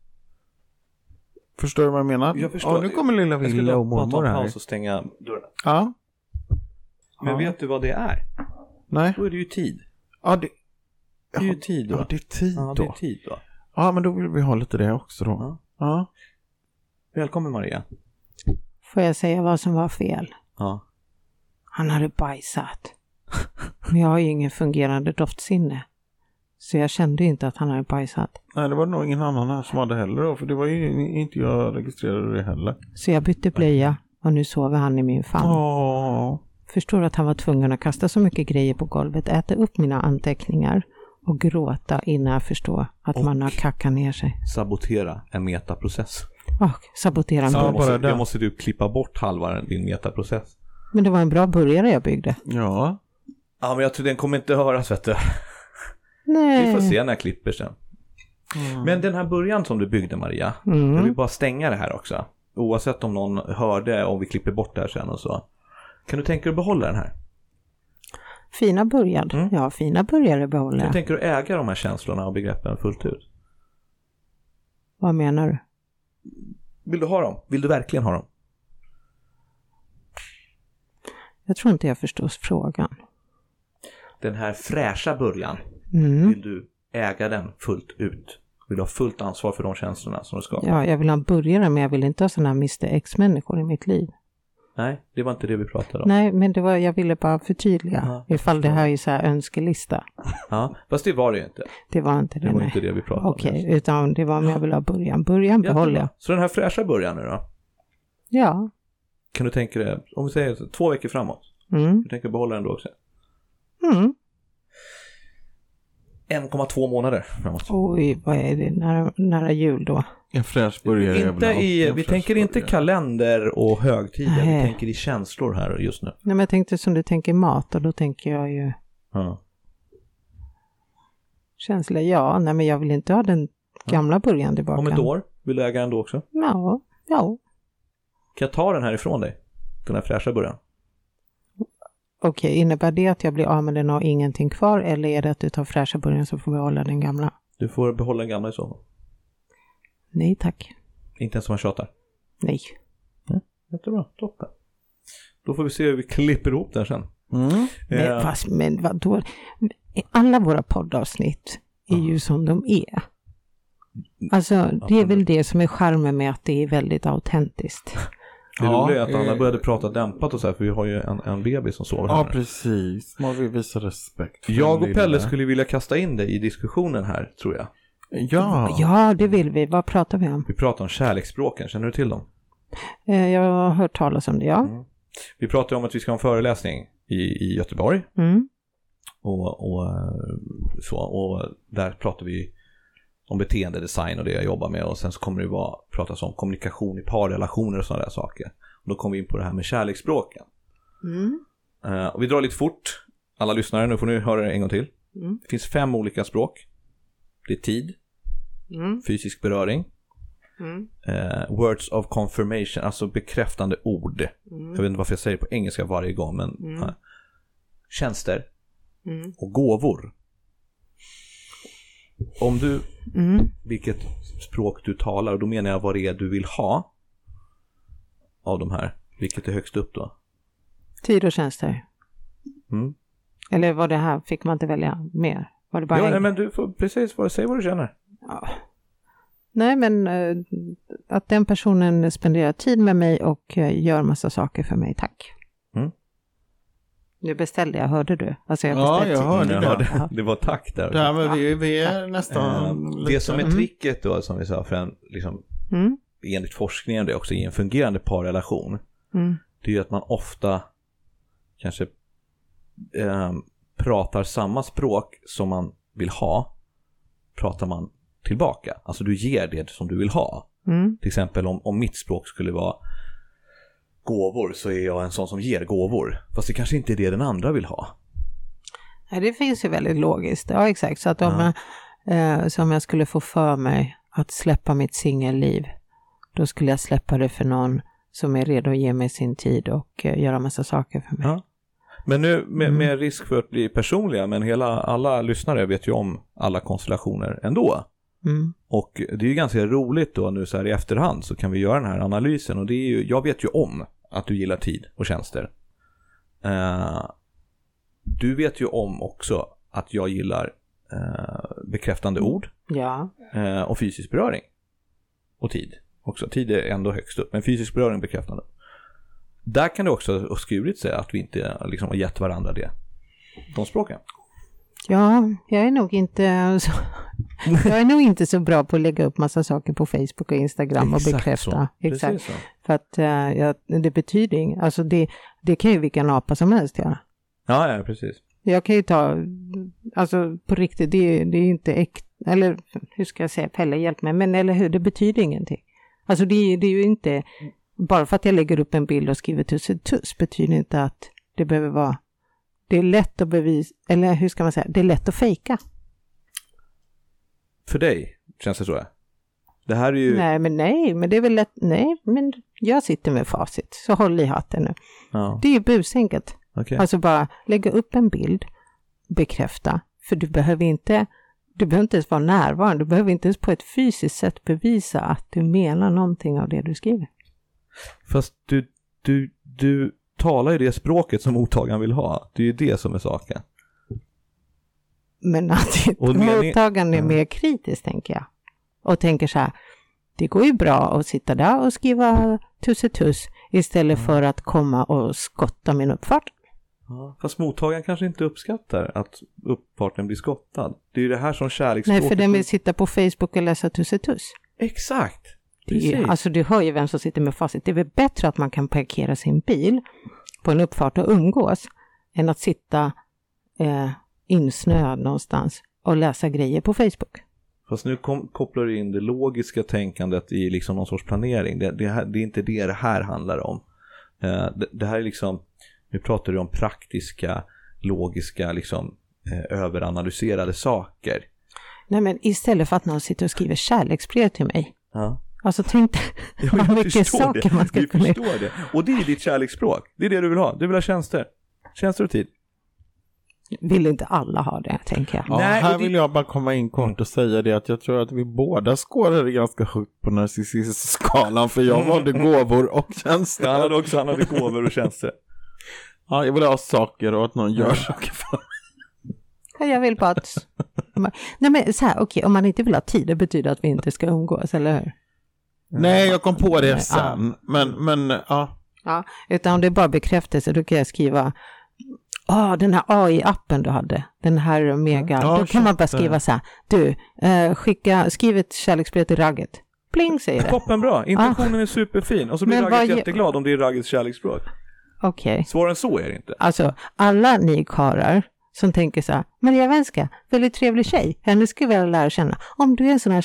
S3: Förstår du vad jag menar?
S1: Jag förstår.
S3: Ja, nu kommer lilla
S1: Jag skulle
S3: Wille och
S1: bara ta
S3: mormor
S1: en
S3: här.
S1: paus och stänga dörren.
S3: Ja,
S1: Men vet du vad det är?
S3: nej.
S1: Då är det ju tid.
S3: Ja, det,
S1: Det är ju tid då.
S3: ja, det är tid
S1: Ja, det är
S3: då.
S1: tid då.
S3: Ja, men då vill vi ha lite det också då.
S1: Ja.
S3: Ja.
S1: Välkommen Maria.
S2: Får jag säga vad som var fel?
S1: Ja.
S2: Han hade bajsat. Men jag har ju ingen fungerande doftsinne. Så jag kände ju inte att han hade bajsat.
S3: Nej, det var nog ingen annan här som hade heller då, för det var ju inte jag registrerade det heller.
S2: Så jag bytte blöja och nu sover han i min famn.
S3: Åh.
S2: Förstår att han var tvungen att kasta så mycket grejer på golvet, äta upp mina anteckningar och gråta innan jag förstår att man har kackat ner sig.
S1: Sabotera en metaprocess.
S2: Och sabotera mig.
S3: Ja,
S1: jag, måste,
S3: bara det.
S1: jag måste du klippa bort halva din metaprocess.
S2: Men det var en bra burgare jag byggde.
S3: Ja.
S1: Ja, men jag tror den kommer inte höras vet du. Vi får
S2: Nej.
S1: se när jag klipper sen.
S2: Mm.
S1: Men den här början som du byggde Maria, jag vill bara stänga det här också. Oavsett om någon hörde, om vi klipper bort det här sen och så. Kan du tänka dig att behålla den här?
S2: Fina burgare.
S1: Mm.
S2: Ja, fina burgare behåller
S1: Hur
S2: jag.
S1: tänker du äga de här känslorna och begreppen fullt ut?
S2: Vad menar du?
S1: Vill du ha dem? Vill du verkligen ha dem?
S2: Jag tror inte jag förstår frågan.
S1: Den här fräscha början,
S2: Mm.
S1: vill du äga den fullt ut? Vill du ha fullt ansvar för de känslorna som du skapar?
S2: Ja, jag vill ha en burgare, men jag vill inte ha sådana här Mr X-människor i mitt liv.
S1: Nej, det var inte det vi pratade om.
S2: Nej, men det var, jag ville bara förtydliga
S1: Ja,
S2: ifall det här är så här önskelista.
S1: Ja, fast det var det ju inte.
S2: Det var inte det.
S1: Det var
S2: nej.
S1: inte det vi pratade om.
S2: Okej, utan det var om jag vill ha början. Början behåller jag.
S1: Jättebra. Så den här fräscha början nu då?
S2: Ja.
S1: Kan du tänka dig, om vi säger två veckor framåt,
S2: Mm.
S1: du tänker behålla den då också?
S2: Mm.
S1: 1,2 månader framåt.
S2: Oj, vad är det? Nära, nära jul då?
S3: En fräsch burgare. är väl
S1: Inte
S3: alltid
S1: i,
S3: en
S1: vi
S3: fräsch
S1: tänker inte
S3: burgare.
S1: kalender och högtider, vi
S2: Nej.
S1: tänker i känslor här just nu.
S2: Nej, men jag tänkte som du tänker mat och då tänker jag ju
S1: Ja.
S2: känsla. Ja, nej, men jag vill inte ha den gamla början tillbaka.
S1: Om ett år, vill du äga den då också?
S2: Ja, ja.
S1: Kan jag ta den här ifrån dig? Den här fräscha början?
S2: Okej, innebär det att jag blir av med den och har ingenting kvar eller är det att du tar fräscha början så får vi behålla den gamla?
S1: Du får behålla den gamla i så fall.
S2: Nej tack.
S1: Inte ens om man tjatar.
S2: Nej.
S1: Jättebra, toppen. Då får vi se hur vi klipper ihop den sen.
S3: Mm.
S2: Men,
S1: Eh,
S2: fast, men vadå? Alla våra poddavsnitt är ju som de är. Alltså, det är väl det som är charmen med att det är väldigt autentiskt.
S1: Det
S3: Ja,
S1: roliga är att alla
S3: eh,
S1: började prata dämpat och så här, för vi har ju en, en bebis som sover här
S3: Ja,
S1: nu.
S3: precis. Man vill visa respekt. för
S1: Jag
S3: den
S1: och Pelle
S3: lilla.
S1: skulle vilja kasta in dig i diskussionen här, tror jag.
S3: Ja.
S2: Ja, det vill vi. Vad pratar vi om?
S1: Vi pratar om kärleksspråken, känner du till dem?
S2: Eh, Jag har hört talas om det, ja.
S1: Vi pratade om att vi ska ha en föreläsning i, i Göteborg
S2: Mm.
S1: och, och eh, så. Och där pratar vi om beteendedesign och det jag jobbar med och sen så kommer det vara, pratas om kommunikation i parrelationer och sådana där saker. Och då kommer vi in på det här med kärleksspråken.
S2: Mm.
S1: Eh, och vi drar lite fort, alla lyssnare, nu får ni höra det en gång till.
S2: Mm.
S1: Det finns fem olika språk. Det är tid,
S2: Mm.
S1: fysisk beröring,
S2: Mm.
S1: eh, words of confirmation, alltså bekräftande ord.
S2: Mm.
S1: Jag vet inte varför jag säger det på engelska varje gång, men eh, tjänster
S2: Mm.
S1: och gåvor. Om du,
S2: Mm.
S1: vilket språk du talar, och då menar jag vad det är du vill ha av de här, vilket är högst upp då.
S2: Tid och tjänster.
S1: Mm.
S2: Eller var det här, fick man inte välja mer? Var det bara
S1: Ja,
S2: en-
S1: nej, men du får precis vad, säg vad du känner.
S2: Ja. Nej, men eh, att den personen spenderar tid med mig och eh, gör massa saker för mig, tack.
S1: Mm.
S2: Nu beställde jag, hörde du? Alltså jag
S3: Ja,
S2: beställde
S3: jag hörde
S1: Mm,
S3: det.
S1: ja, det, det var tack där.
S3: Ja, men vi, vi är
S1: Eh,
S3: nästan...
S1: det
S3: lite- Mm.
S1: som är tricket då, som vi sa, för en, liksom,
S2: Mm,
S1: enligt forskningen det också, i en fungerande parrelation,
S2: mm,
S1: det är ju att man ofta kanske ehm, pratar samma språk som man vill ha, pratar man tillbaka. Alltså du ger det som du vill ha.
S2: mm,
S1: Till exempel om, om mitt språk skulle vara gåvor så är jag en sån som ger gåvor. Fast det kanske inte är det den andra vill ha.
S2: Ja, det finns ju väldigt logiskt. Ja, exakt. Så att om
S1: Ja.
S2: jag, eh, som jag skulle få för mig att släppa mitt singelliv, då skulle jag släppa det för någon som är redo att ge mig sin tid och eh, göra massa saker för mig.
S1: Ja. Men nu med, med risk för att bli personliga, men hela, alla lyssnare vet ju om alla konstellationer ändå.
S2: Mm,
S1: Och det är ju ganska roligt då nu så här i efterhand så kan vi göra den här analysen och det är ju, jag vet ju om att du gillar tid och tjänster. Eh, du vet ju om också att jag gillar eh, bekräftande ord
S2: ja.
S1: eh, och fysisk beröring. Och tid också. Tid är ändå högst upp, men fysisk beröring bekräftande. Där kan det också ha skurit sig att vi inte liksom har gett varandra det. De språken.
S2: Ja, jag är nog inte så, jag är nog inte så bra på att lägga upp massa saker på Facebook och Instagram och bekräfta.
S1: så. Precis
S2: Exakt.
S1: så.
S2: För att eh, jag, det betyder inget. Alltså det, det kan ju vilken apa som helst göra.
S1: Ja, ja, precis.
S2: Jag kan ju ta, alltså på riktigt, det, det är ju inte äkta, eller hur ska jag säga, Pelle hjälp mig, men eller hur, det betyder ingenting. Alltså det, är- det är ju inte, bara för att jag lägger upp en bild och skriver tuss tuss betyder inte att det behöver vara, det är lätt att bevisa, eller hur ska man säga, det är lätt att fejka.
S1: För dig känns det så. ja. Det här är ju...
S2: Nej, men nej, men det är väl lätt. Nej, men jag sitter med facit, så håll i hatten nu.
S1: Ja,
S2: Det är ju busenkelt.
S1: okej.
S2: Alltså bara lägga upp en bild, bekräfta, för du behöver inte, du behöver inte ens vara närvarande, du behöver inte ens på ett fysiskt sätt bevisa att du menar någonting av det du skriver.
S1: Fast du, du, du talar ju det språket som mottagaren vill ha. Det är ju det som är saken.
S2: Men att
S1: Och meningen-
S2: mottagaren är
S1: Ja.
S2: mer kritisk, tänker jag. Och tänker så här, det går ju bra att sitta där och skriva tuss istället
S1: Mm.
S2: för att komma och skotta min uppfart.
S1: Fast mottagaren kanske inte uppskattar att uppparten blir skottad. Det är ju det här som kärleksspråket...
S2: Nej, för den vill sitta på Facebook och läsa tussetuss.
S1: Exakt!
S2: Det är-
S1: Precis.
S2: Alltså du hör ju vem som sitter med facit. Det är väl bättre att man kan parkera sin bil på en uppfart och umgås än att sitta eh, insnöad någonstans och läsa grejer på Facebook.
S1: Fast nu kom, kopplar du in det logiska tänkandet i liksom någon sorts planering. Det, det, här, det är inte det det här handlar om. Eh, det, det här är liksom, nu pratar du om praktiska, logiska, liksom eh, överanalyserade saker.
S2: Nej men istället för att någon sitter och skriver kärleksbrev till mig.
S1: Ja.
S2: Alltså tänk dig vad mycket saker
S1: det.
S2: man ska
S1: Vi
S2: kunna göra.
S1: förstår det. Och det är ditt kärleksspråk. Det är det du vill ha. Du vill ha tjänster. Tjänster och tid.
S2: Vill inte alla ha det, tänker jag.
S3: Ja,
S1: Nej,
S3: här
S1: och det-
S3: vill jag bara komma in kort och säga det att jag tror att vi båda skårade ganska högt på narcissistskalan för jag valde gåvor och tjänster.
S1: Han hade också, han hade gåvor och tjänster.
S3: Ja, jag vill ha saker och att någon gör saker för mig.
S2: Ja, Jag vill bara att... Nej men så här, okej, om man inte vill ha tid, det betyder att vi inte ska umgås, eller hur?
S3: Nej, jag kom på det
S2: Nej,
S3: sen. Men, men ja.
S2: Ja, utan om det är bara bekräftelse, då kan jag skriva Ah, den här AI-appen du hade, den här mega,
S3: Ja,
S2: då kan man bara
S3: shit,
S2: skriva så här, du, eh, skicka, skriv ett kärleksbrev till ragget. Pling säger det.
S1: Toppenbra, intentionen är superfin. Och så blir
S2: Ah. Men
S1: Ragget
S2: vad-
S1: jätteglad om det är Raggets kärleksspråk.
S2: Okej,
S1: Svårare än så är det inte.
S2: alltså alla ni karlar som tänker så här, Maria Wenska, väldigt trevlig tjej, henne skulle jag vilja lära känna. Om du är en sån här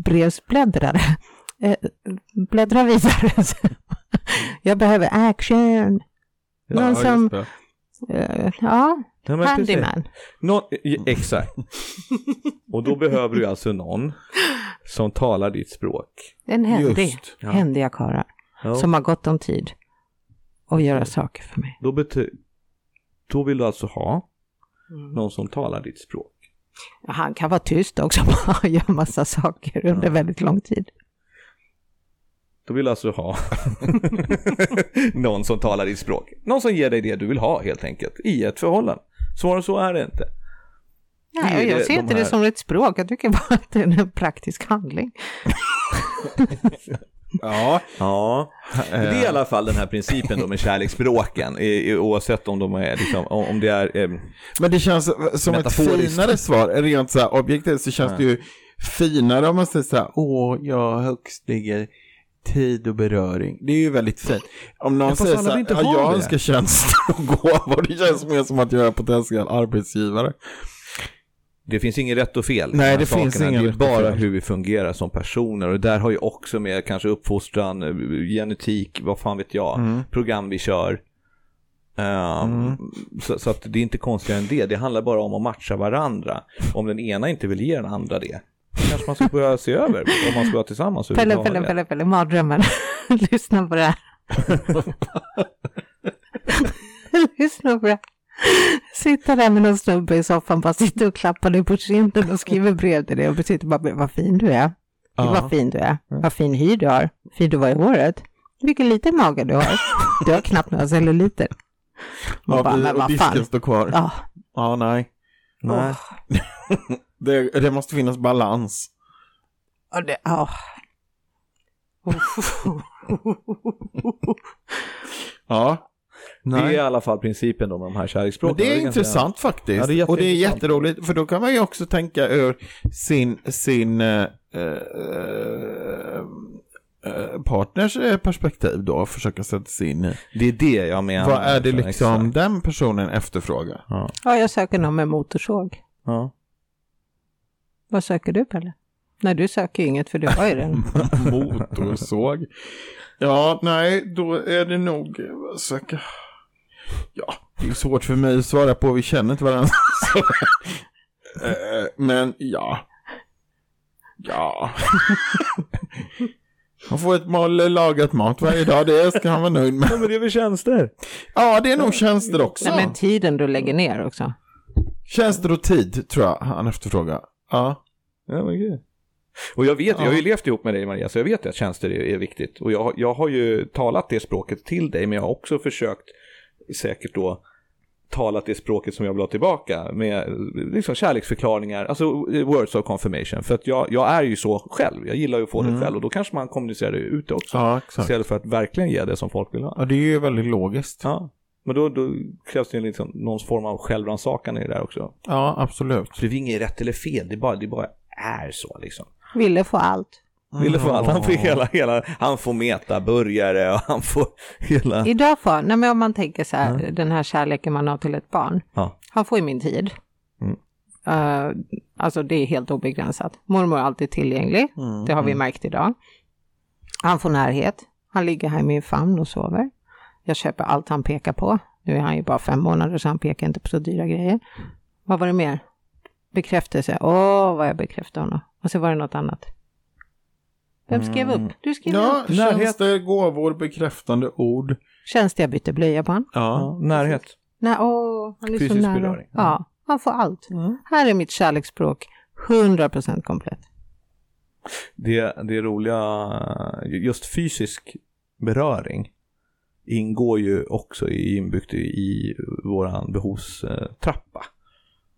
S2: kärleksbrevsbläddrare, eh, bläddra vidare. jag behöver action. Någon
S3: ja,
S2: som,
S3: just det.
S2: eh, ja,
S1: Ja, men precis.
S2: handyman.
S1: Någon, ja, exakt. Och då behöver du alltså någon som talar ditt språk.
S2: En händig,
S3: Just,
S2: händiga karlar
S1: Ja,
S2: som har gott om tid och
S1: Mm.
S2: göra saker för mig.
S1: då, bety- då vill du alltså ha någon som talar ditt språk.
S2: Han kan vara tyst också och göra massa saker under väldigt lång tid.
S1: Då vill du alltså ha någon som talar ditt språk. Någon som ger dig det du vill ha helt enkelt i ett förhållande. Svårare än så är det inte. Det är
S2: Nej, jag
S1: det-
S2: ser
S1: de
S2: inte
S1: här-
S2: det som ett språk, jag tycker bara att det är en praktisk handling.
S3: Ja,
S1: Ja, det är i alla fall den här principen då med kärleksspråken, i- i- oavsett om, de är, liksom, om om det är... Eh,
S3: men det känns som ett
S1: Metaforiskt.
S3: finare svar. Rent så här objektivt så känns det ju finare om man säger så här, åh, jag högst ligger tid och beröring. Det är ju väldigt fint. Om någon
S1: fast
S3: säger
S1: alla
S3: så
S1: vill
S3: här,
S1: inte
S3: ja,
S1: ha
S3: jag
S1: det."
S3: önskar tjänster och gåvor, det känns mer som att jag är potentiell arbetsgivare.
S1: det finns inget rätt och fel. i
S3: Nej,
S1: de här
S3: det finns inget
S1: Det är
S3: rätt och
S1: bara
S3: fel.
S1: hur vi fungerar som personer. Och där har ju också med kanske uppfostran, eh, genetik, vad fan vet jag,
S3: Mm.
S1: program vi kör. Ehm, så, så att det är inte konstigare än det. Det handlar bara om att matcha varandra. Om den ena inte vill ge den andra det, kanske man ska börja se över om man ska vara tillsammans
S2: Pelle,
S1: överhuvudtaget.
S2: Pelle, Pelle, Pelle, mardrömmen. Lyssna på det här. Lyssna på det här. Sitta där med någon snubbe i soffan, bara sitter och klappar dig på kinden och skriver brev till dig och sitter bara, vad fin du är. Gud,
S3: Ja.
S2: Vad fin du är. Vad fin hy du har. Fin du var i håret. Vilken liten mage du har. Du har knappt några celluliter. Man
S3: Ja,
S2: bara,
S3: precis,
S2: men
S3: och
S2: vad
S3: disken
S2: fan.
S3: står kvar.
S2: Ja,
S3: Ja, nej.
S1: Nej.
S3: Det, det måste finnas balans.
S2: och det, ja.
S3: Ja.
S1: Det är i alla fall principen då med de här
S3: Men
S1: kärleksspråken.
S3: det
S1: Och
S3: är
S1: ganska-
S3: intressant faktiskt.
S1: Ja, det är
S3: och det är
S1: jätteintressant.
S3: jätteroligt, för då kan man ju också tänka ur sin, sin eh, eh, eh, partners eh, perspektiv då, och försöka sätta sig in i.
S1: Det är det jag menar.
S3: Vad är det
S1: Exakt.
S3: liksom den personen efterfrågar?
S2: ja, jag söker någon med motorsåg.
S1: Ja.
S2: Vad söker du Pelle? Nej, du söker ju inget för du har ju den.
S3: Motorsåg. Ja, nej, då är det nog, eh, söka. Ja, det är svårt för mig att svara på, vi känner inte varandra. Så, eh, Men ja. Ja. Han får ett mål lagat mat varje dag, det ska han vara nöjd med.
S1: Men det är väl tjänster?
S3: Ja, det är nog tjänster också.
S2: Nej, men tiden du lägger ner också.
S3: Tjänster och tid, tror jag han efterfrågar. Ja.
S1: Ja, men gud. Och jag vet, jag har ju levt ihop med dig Maria, så jag vet ju att tjänster är, är viktigt. Och jag, jag har ju talat det språket till dig, men jag har också försökt säkert då talat det språket som jag vill ha tillbaka med liksom kärleksförklaringar, alltså words of confirmation. För att jag, jag är ju så själv, jag gillar ju att få det själv och då kanske man kommunicerar det ut också.
S3: Ja, exakt.
S1: Istället för att verkligen ge det som folk vill ha.
S3: Ja, det är ju väldigt logiskt.
S1: Ja. Men då, då krävs det ju liksom någon form av självrannsakan i det där också.
S3: Ja, absolut.
S1: Så det är inget rätt eller fel, det är bara, det bara är så liksom.
S2: Ville få allt.
S1: Ville få
S3: Mm.
S1: allt, han får hela, hela, han får metaburgare och han får hela...
S2: Idag får, nej men om man tänker så här, den här kärleken man har till ett barn.
S1: Ja.
S2: Han får ju min tid. Eh, alltså det är helt obegränsat. Mormor är alltid tillgänglig, det har vi märkt idag. Han får närhet, han ligger här i min famn och sover. Jag köper allt han pekar på. Nu är han ju bara fem månader så han pekar inte på så dyra grejer. Vad var det mer? Bekräftelse, åh vad jag bekräftar honom. Och så var det något annat. Vem skrev upp? Du skrev
S3: Ja,
S2: upp.
S3: tjänster, gåvor, bekräftande ord.
S2: Känns det jag bytte blöja på honom?
S3: Ja.
S1: närhet.
S2: Nej, åh, och han är så
S1: Fysisk
S2: nära.
S1: beröring.
S2: Ja, han får allt. Här är mitt kärleksspråk 100% komplett.
S1: Det, det roliga, just fysisk beröring ingår ju också i- inbyggt i, i våran behovstrappa.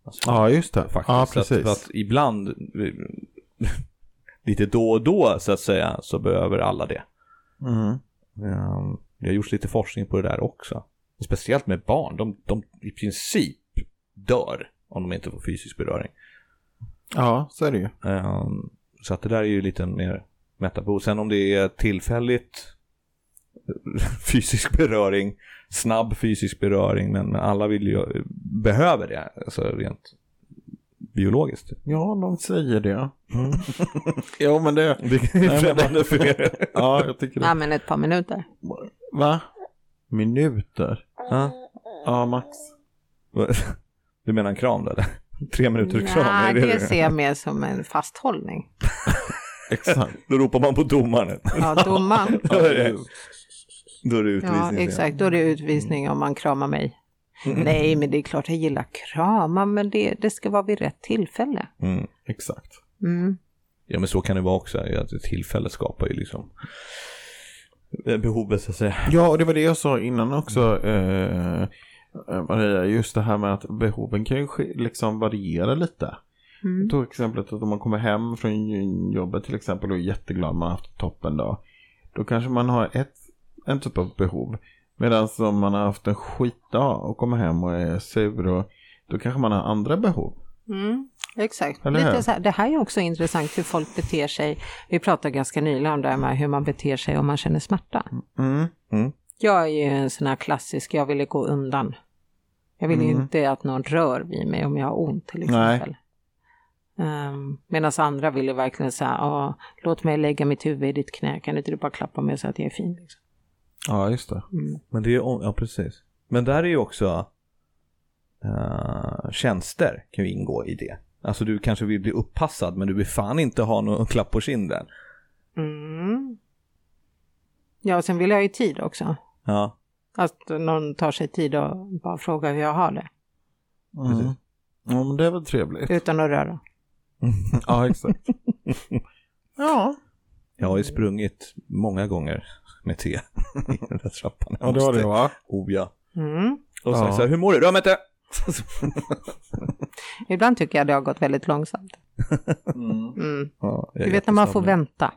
S1: Alltså,
S3: Ja, just det.
S1: faktiskt.
S3: Ja,
S1: Så Att,
S3: precis.
S1: för att ibland, eh, lite då och då så att säga, så behöver alla det.
S3: Mm.
S1: Ehm, Det har gjorts lite forskning på det där också. Speciellt med barn, de, de i princip dör om de inte får fysisk beröring.
S3: Ja, så är det ju.
S1: Ehm, Så att det där är ju lite mer metabo. Sen om det är tillfälligt fysisk beröring, snabb fysisk beröring, men, men alla vill ju, behöver det, alltså rent biologiskt.
S3: Ja, de säger det. Mm. jo, men det...
S1: Det är främmande för er.
S3: Ja, jag tycker
S2: Ja,
S3: det.
S2: men ett par minuter.
S3: Va? Minuter?
S1: Ja.
S3: Ja, max.
S1: Du menar en kram där? Tre minuter kram?
S2: Nej,
S1: är
S2: det,
S1: du-
S2: ser jag mer som en fasthållning.
S3: Exakt.
S1: Då ropar man på domaren.
S2: Ja, domaren.
S1: Då är det, då är det utvisning.
S2: Ja,
S1: sen.
S2: exakt. Då är det utvisning om man kramar mig. Nej, men det är klart jag gillar krama, men det, det ska vara vid rätt tillfälle.
S1: Mm.
S3: Exakt.
S2: Mm.
S1: Ja, men så kan det vara också. Att ett tillfälle skapar ju liksom eh, behovet så att säga.
S3: Ja, och det var det jag sa innan också. Eh, eh, Maria, just det här med att behoven kan ju ske- liksom variera lite.
S2: Mm.
S3: Jag tog exemplet att om man kommer hem från jobbet till exempel och är jätteglad man har haft toppen dag. Då kanske man har ett, en typ av behov. Medan om man har haft en skitdag och kommer hem och är sur och då kanske man har andra behov.
S2: Mm, exakt.
S3: Eller hur?
S2: Lite så här, det här är också intressant hur folk beter sig. Vi pratade ganska nyligen om det här med hur man beter sig om man känner smärta.
S3: Mm.
S2: Jag är ju en sån här klassisk, jag ville gå undan. Jag vill ju
S3: Mm.
S2: inte att någon rör vid mig om jag har ont till exempel. Um, Medan andra vill ju verkligen säga, ah, låt mig lägga mitt huvud i ditt knä, kan inte du bara klappa mig så att jag är fin? Liksom.
S3: Ja, just det.
S2: Mm.
S1: Men det är ju, om- ja precis. Men där är ju också uh, tjänster kan ju ingå i det. Alltså du kanske vill bli uppassad men du vill fan inte ha någon klapp på kinden.
S2: Mm. Ja, och sen vill jag ju tid också.
S1: Ja,
S2: Att någon tar sig tid och bara frågar hur jag har det,
S3: Mm. Ja, men det var trevligt.
S2: utan att röra.
S3: Ja, exakt. ja.
S1: jag har ju sprungit många gånger med te i den där trappan.
S3: ja, det var det va?
S1: Oh ja.
S2: Mm.
S1: Och så,
S3: Ja.
S1: så här, hur mår du? Rör mig inte!
S2: Ibland tycker jag det har gått väldigt långsamt. Mm.
S1: Ja, jag
S2: Du
S1: är
S2: vet när man får
S1: jättesam.
S2: vänta.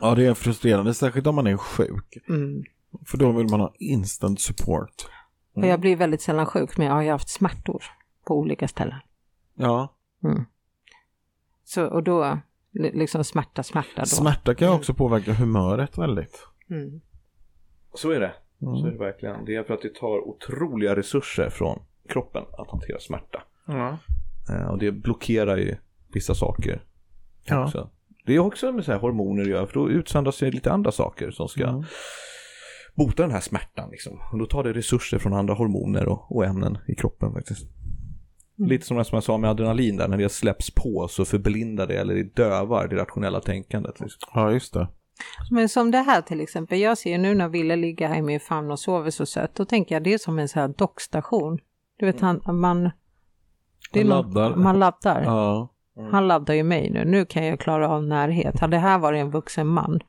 S3: Ja, det är frustrerande, särskilt om man är sjuk.
S2: Mm.
S3: För då vill man ha instant support.
S2: Och
S3: Mm.
S2: jag blir väldigt sällan sjuk, men jag har ju haft smärtor på olika ställen.
S3: Ja.
S2: Mm. Så, och då, li- liksom smärta, smärta då.
S3: Smärta kan ju också påverka humöret väldigt. Mm.
S2: Mm.
S1: Så är det. Så är det verkligen. Det är för att det tar otroliga resurser från kroppen att hantera smärta.
S3: Ja.
S1: Eh, Och det blockerar ju vissa saker
S3: Ja.
S1: också. Det är också med så här hormoner att göra, för då utsöndras det lite andra saker som ska
S3: Mm.
S2: Mm.
S1: bota den här smärtan. Liksom. Och då tar det resurser från andra hormoner och, och ämnen i kroppen faktiskt.
S2: Mm.
S1: Lite som det som jag sa med adrenalin där, när det släpps på så förblindar det eller det dövar det rationella tänkandet. Liksom.
S3: ja, just det.
S2: Men som det här till exempel, jag ser ju nu när Ville ligger här i min famn och sover så sött, då tänker jag det är som en sån här dockstation. Du vet, han, man... Det är
S3: Man
S2: något-
S3: laddar.
S2: Man laddar.
S3: Ja.
S2: Han laddar ju mig nu, nu kan jag klara av närhet. Hade det här varit en vuxen man,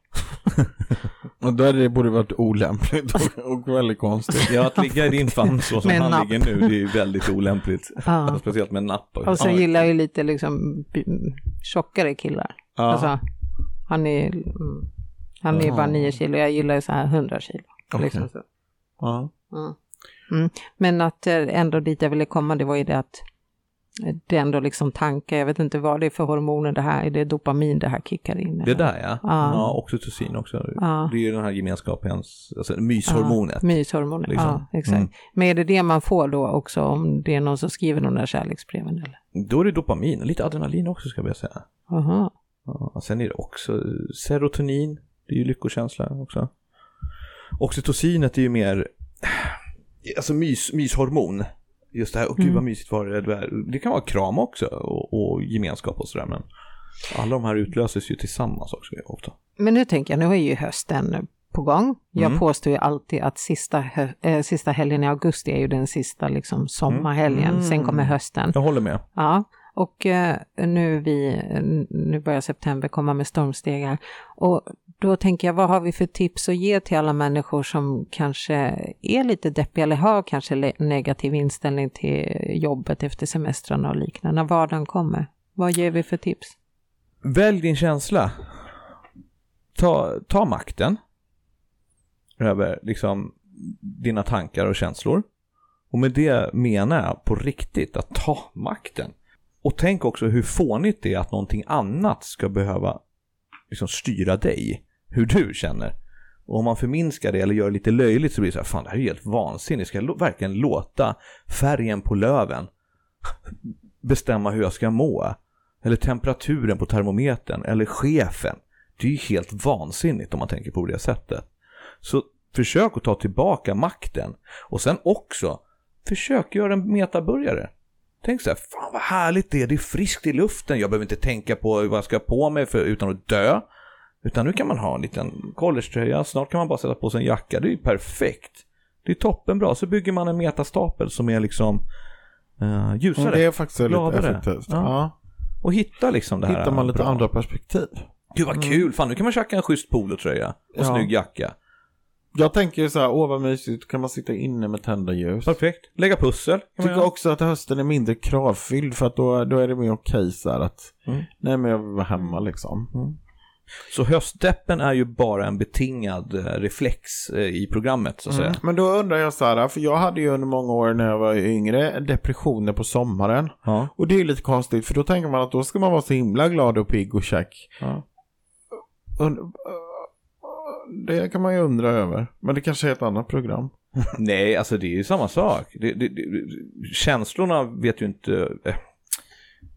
S3: Och där det borde varit olämpligt och, och väldigt konstigt.
S1: Ja, att ligga i din famn så som
S2: Med en
S1: han
S2: napp.
S1: ligger nu, det är ju väldigt olämpligt.
S2: Ja.
S1: Alltså, Speciellt med en napp.
S2: Och så gillar jag ju lite liksom by- tjockare killar.
S3: Ja.
S2: Alltså, han är, mm, han är bara 9 kilo, jag gillar ju så här 100 kilo. Liksom så.
S3: Ja.
S2: Mm. Men att eh, ändå dit jag ville komma, det var ju det att eh, det är ändå liksom tankar, jag vet inte vad det är för hormoner det här, är det dopamin det här kickar in?
S1: Det
S2: eller?
S1: där ja.
S2: Ja.
S1: Ja, oxytocin också.
S2: Ja.
S1: Det är ju den här gemenskapens, alltså
S2: Ja,
S1: myshormonet.
S2: myshormonet,
S1: liksom.
S2: ja exakt.
S1: Mm.
S2: Men är det det man får då också om det är någon som skriver de där kärleksbreven eller?
S1: Då är det dopamin och lite adrenalin också ska jag säga.
S2: Aha.
S1: Ja, sen är det också serotonin, det är ju lyckokänsla också. Oxytocinet är ju mer, alltså mys, myshormon. Just det här, och gud
S2: Mm.
S1: vad mysigt var det. det var." Det kan vara kram också och, och gemenskap och sådär men alla de här utlöses ju tillsammans också ofta.
S2: Men nu tänker jag, nu är ju hösten på gång. Jag
S1: Mm.
S2: påstår ju alltid att sista, hö- eh, sista helgen i augusti är ju den sista liksom, sommarhelgen,
S1: Mm.
S2: sen kommer hösten.
S1: Jag håller med.
S2: Ja, och eh, nu, vi, eh, nu börjar september komma med stormstegar. Och då tänker jag, vad har vi för tips att ge till alla människor som kanske är lite deppiga eller har kanske le- negativ inställning till jobbet efter semestrarna och liknande, när vardagen kommer? Vad ger vi för tips?
S1: Välj din känsla. Ta, ta makten över liksom, dina tankar och känslor. Och med det menar jag på riktigt att ta makten. Och tänk också hur fånigt det är att någonting annat ska behöva liksom, styra dig, hur du känner. Och om man förminskar det eller gör det lite löjligt så blir det så här, fan det här är ju helt vansinnigt, ska jag lo- verkligen låta färgen på löven bestämma hur jag ska må? Eller temperaturen på termometern, eller chefen. Det är ju helt vansinnigt om man tänker på det sättet. Så försök att ta tillbaka makten. Och sen också, försök göra en metaburgare. Tänk så här, fan vad härligt det är, det är friskt i luften, jag behöver inte tänka på vad jag ska ha på mig för, utan att dö. Utan nu kan man ha en liten collegetröja, snart kan man bara sätta på sig en jacka, det är ju perfekt. Det är toppenbra, så bygger man en metastapel som är liksom eh, ljusare.
S3: Mm, Det är faktiskt väldigt
S1: Gladare.
S3: effektivt.
S1: Ja.
S3: Ja.
S1: Och hitta liksom det här.
S3: Hittar man lite
S1: bra.
S3: andra perspektiv.
S1: Gud vad kul, fan nu kan man tjacka en schysst polotröja och
S3: Ja.
S1: snygg jacka.
S3: Jag tänker ju så här, åh vad mysigt, kan man sitta inne med tända ljus.
S1: Perfekt, lägga pussel. kan man
S3: Jag tycker
S1: göra.
S3: också att hösten är mindre kravfylld för att då, då är det mer okej så här att
S1: Mm.
S3: nej men jag vill vara hemma liksom.
S1: Så höstdeppen är ju bara en betingad eh, reflex eh, i programmet så att säga.
S3: Mm. Men då undrar jag så här, för jag hade ju under många år när jag var yngre depressioner på sommaren.
S1: Ja.
S3: Och det är ju lite konstigt för då tänker man att då ska man vara så himla glad och pigg och käck.
S1: Ja.
S3: Und- det kan man ju undra över. Men det kanske är ett annat program.
S1: Nej, alltså det är ju samma sak. Det, det, det, känslorna vet ju inte, eh,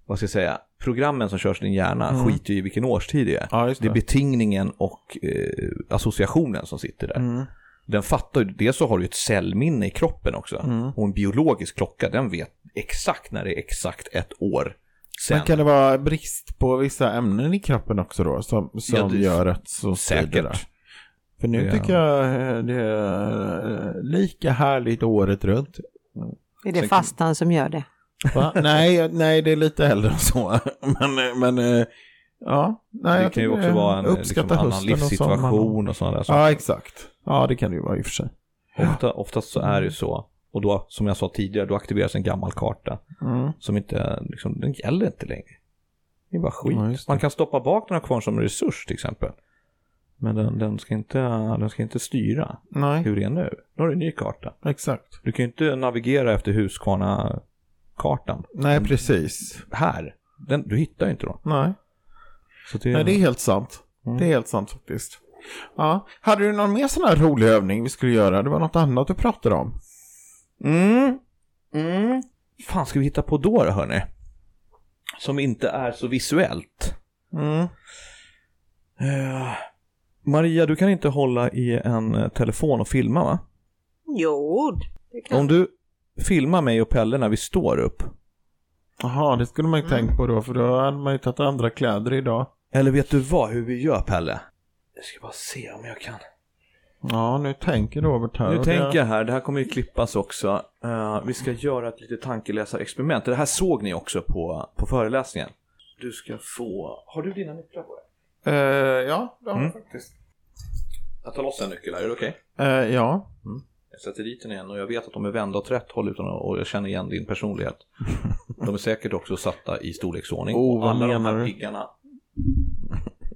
S1: vad ska jag säga, programmen som körs i din hjärna skiter ju i vilken årstid det är.
S3: Mm. Ja, just
S1: Det är
S3: det.
S1: betingningen och eh, associationen som sitter där.
S3: Mm.
S1: Den fattar ju, dels så har du ett cellminne i kroppen också.
S3: Mm.
S1: Och en biologisk klocka, den vet exakt när det är exakt ett år sen.
S3: Men kan det vara brist på vissa ämnen i kroppen också då? Som, som
S1: Ja, det-
S3: gör att så styr det
S1: Säkert.
S3: där? För nu
S1: Ja.
S3: tycker jag eh, det är eh, lika härligt året runt.
S2: Är det fastan som gör det?
S3: Va? nej, nej, det är lite äldre än så. Men, eh, men eh, ja. Nej,
S1: Det
S3: jag
S1: kan ju
S3: tycker,
S1: också vara en eh,
S3: uppskatta
S1: liksom, annan
S3: hösten och sommaren.
S1: livssituation och sådana där saker.
S3: Ja, exakt. Ja, det kan det ju vara i och för sig.
S1: Ofta, oftast så är det ju så. Och då, som jag sa tidigare, då aktiveras en gammal karta
S3: Mm.
S1: som inte, liksom, den gäller inte längre. Det är bara skit.
S3: Ja, just det.
S1: Man kan stoppa bak den här kvarn som resurs till exempel. Men den, den, ska inte, den ska inte styra
S3: Nej,
S1: hur det är nu. Nu har du en ny karta.
S3: exakt.
S1: Du kan ju inte navigera efter Huskvarna-kartan.
S3: Nej, precis.
S1: Här. Den, du hittar ju inte då.
S3: Nej.
S1: Så det,
S3: Nej, det är helt sant.
S1: Mm.
S3: Det är helt sant faktiskt. Ja. Hade du någon mer sån här rolig övning vi skulle göra? Det var något annat du pratade om.
S1: Mm. Mm. fan ska vi hitta på då, då hörni? Som inte är så visuellt.
S3: Mm.
S1: Eh, Maria, du kan inte hålla i en eh, telefon och filma va?
S2: Jo,
S1: Om du filmar mig och Pelle när vi står upp.
S3: Jaha, det skulle man ju tänkt på då, för då hade man ju tagit andra kläder idag.
S1: Eller vet du vad, hur vi gör Pelle? Jag ska bara se om jag kan.
S3: Ja, nu tänker Robert här.
S1: Nu
S3: och
S1: tänker jag här, det här kommer ju klippas också. Eh, vi ska göra ett litet tankeläsarexperiment. Det här såg ni också på, på föreläsningen. Du ska få... Har du dina nycklar på dig? Mm.
S3: Det, eh, ja, det har jag faktiskt.
S1: Jag tar loss en nyckel, här, är det okej?
S3: Eh, ja.
S1: Jag sätter dit den igen och jag vet att de är vända åt rätt håll utan att, och jag känner igen din personlighet. De är säkert också satta i storleksordning.
S3: Oh,
S1: och
S3: vad
S1: alla de
S3: menar
S1: här
S3: du?
S1: piggarna.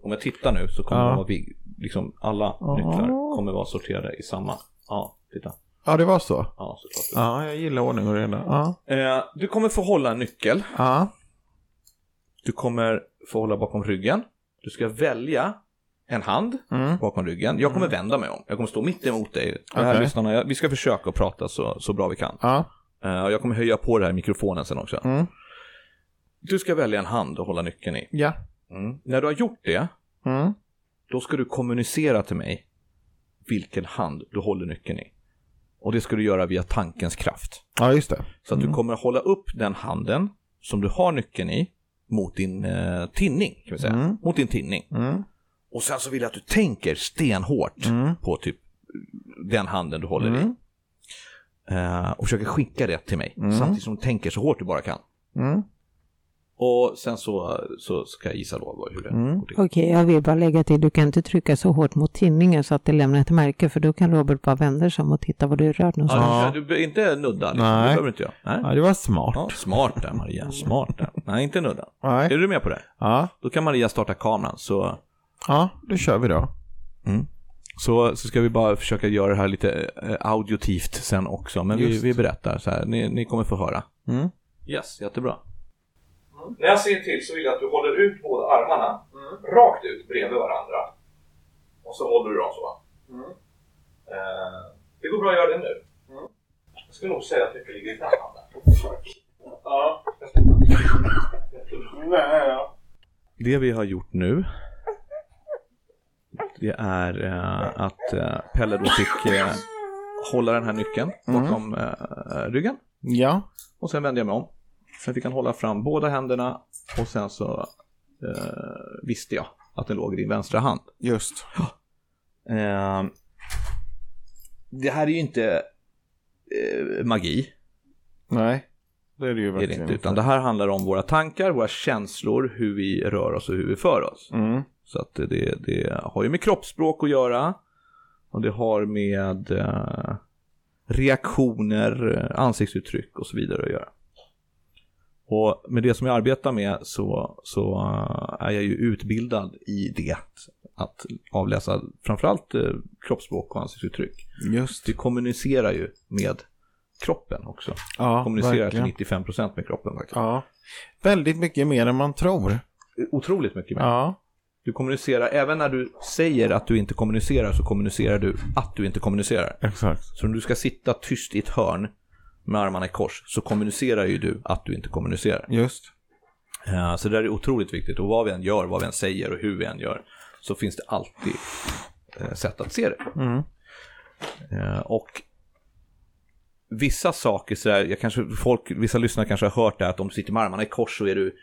S1: Om jag tittar nu så kommer
S3: Ja.
S1: de vara pigg. Liksom alla nycklar kommer vara sorterade i samma. Ja, titta.
S3: ja, det var så.
S1: Ja, såklart.
S3: Ja, jag gillar ordning och reda. Ja.
S1: Eh, du kommer få hålla en nyckel.
S3: ja.
S1: Du kommer få hålla bakom ryggen. Du ska välja en hand
S3: Mm.
S1: bakom ryggen. Jag kommer vända mig om. Jag kommer stå mitt emot dig. Det här
S3: Okej.
S1: lyssnarna, jag- vi ska försöka att prata så, så bra vi kan.
S3: Ja.
S1: Eh, och jag kommer höja på det här i mikrofonen sen också.
S3: Mm.
S1: Du ska välja en hand att hålla nyckeln i.
S3: Ja.
S1: När du har gjort det,
S3: Mm.
S1: då ska du kommunicera till mig vilken hand du håller nyckeln i. Och det ska du göra via tankens kraft.
S3: Ja, just det.
S1: Så att du kommer hålla upp den handen som du har nyckeln i mot din eh, tinning, kan vi säga. Mot din tinning.
S3: Mm.
S1: Och sen så vill jag att du tänker stenhårt på typ den handen du håller
S3: Mm.
S1: i. Eh, och försöker skicka det till mig samtidigt som du tänker så hårt du bara kan.
S3: Mm.
S1: Och sen så, så ska jag gissa då vad- hur det
S3: Mm.
S1: går till.
S2: Okej, jag vill bara lägga till, du kan inte trycka så hårt mot tinningen så att det lämnar ett märke, för då kan Robert bara vända sig om och titta var du är rörd någonstans.
S1: Ja, du, du behöver inte nudda, liksom.
S3: Nej.
S1: det behöver inte jag. Nej.
S3: Ja, det var smart.
S1: Ja, smart där Maria, smart där. Nej, inte nudda. Är
S3: Nej.
S1: du med på det?
S3: Ja.
S1: Då kan Maria starta kameran så,
S3: ja, då kör vi då.
S1: så, så ska vi bara försöka göra det här lite eh, audiotivt sen också. Men vi,
S3: Just.
S1: vi berättar så här, ni, ni kommer få höra.
S3: Mm.
S1: Yes, jättebra. Mm. När jag ser till så vill jag att du håller ut båda armarna
S3: Mm.
S1: rakt ut bredvid varandra. Och så håller du dem så.
S3: Mm.
S1: Eh, det går bra att göra det nu. Jag skulle nog säga att mycket ligger i den handen. ja. Det vi har gjort nu det är eh, att eh, Pelle då fick eh, hålla den här nyckeln bakom eh, ryggen.
S3: Ja.
S1: Och sen vände jag mig om. Sen fick han hålla fram båda händerna och sen så eh, visste jag att den låg i din vänstra hand.
S3: Just.
S1: Eh, det här är ju inte eh, magi,
S3: Nej. Det är det ju
S1: är det
S3: verkligen
S1: inte, utan det här handlar om våra tankar, våra känslor, hur vi rör oss och hur vi för oss.
S3: Mm.
S1: Så att det, det har ju med kroppsspråk att göra och det har med eh, reaktioner, eh, ansiktsuttryck och så vidare att göra. Och med det som jag arbetar med så, så eh, är jag ju utbildad i det. Att avläsa framförallt eh, kroppsspråk och ansiktsuttryck.
S3: Just.
S1: Vi kommunicerar ju med kroppen också.
S3: Ja,
S1: kommunicerar
S3: verkligen.
S1: till 95% med kroppen faktiskt.
S3: Ja. Väldigt mycket mer än man tror.
S1: Otroligt mycket mer.
S3: Ja.
S1: Du kommunicerar, även när du säger att du inte kommunicerar så kommunicerar du att du inte kommunicerar.
S3: Exakt.
S1: Så om du ska sitta tyst i ett hörn med armarna i kors så kommunicerar ju du att du inte kommunicerar.
S3: Just.
S1: Eh, Så det där är otroligt viktigt och vad vi än gör, vad vi än säger och hur vi än gör så finns det alltid eh, sätt att se det på.
S3: Mm.
S1: Eh, Och vissa saker sådär, jag kanske, folk, vissa lyssnare kanske har hört det här, att om du sitter med armarna i kors så är du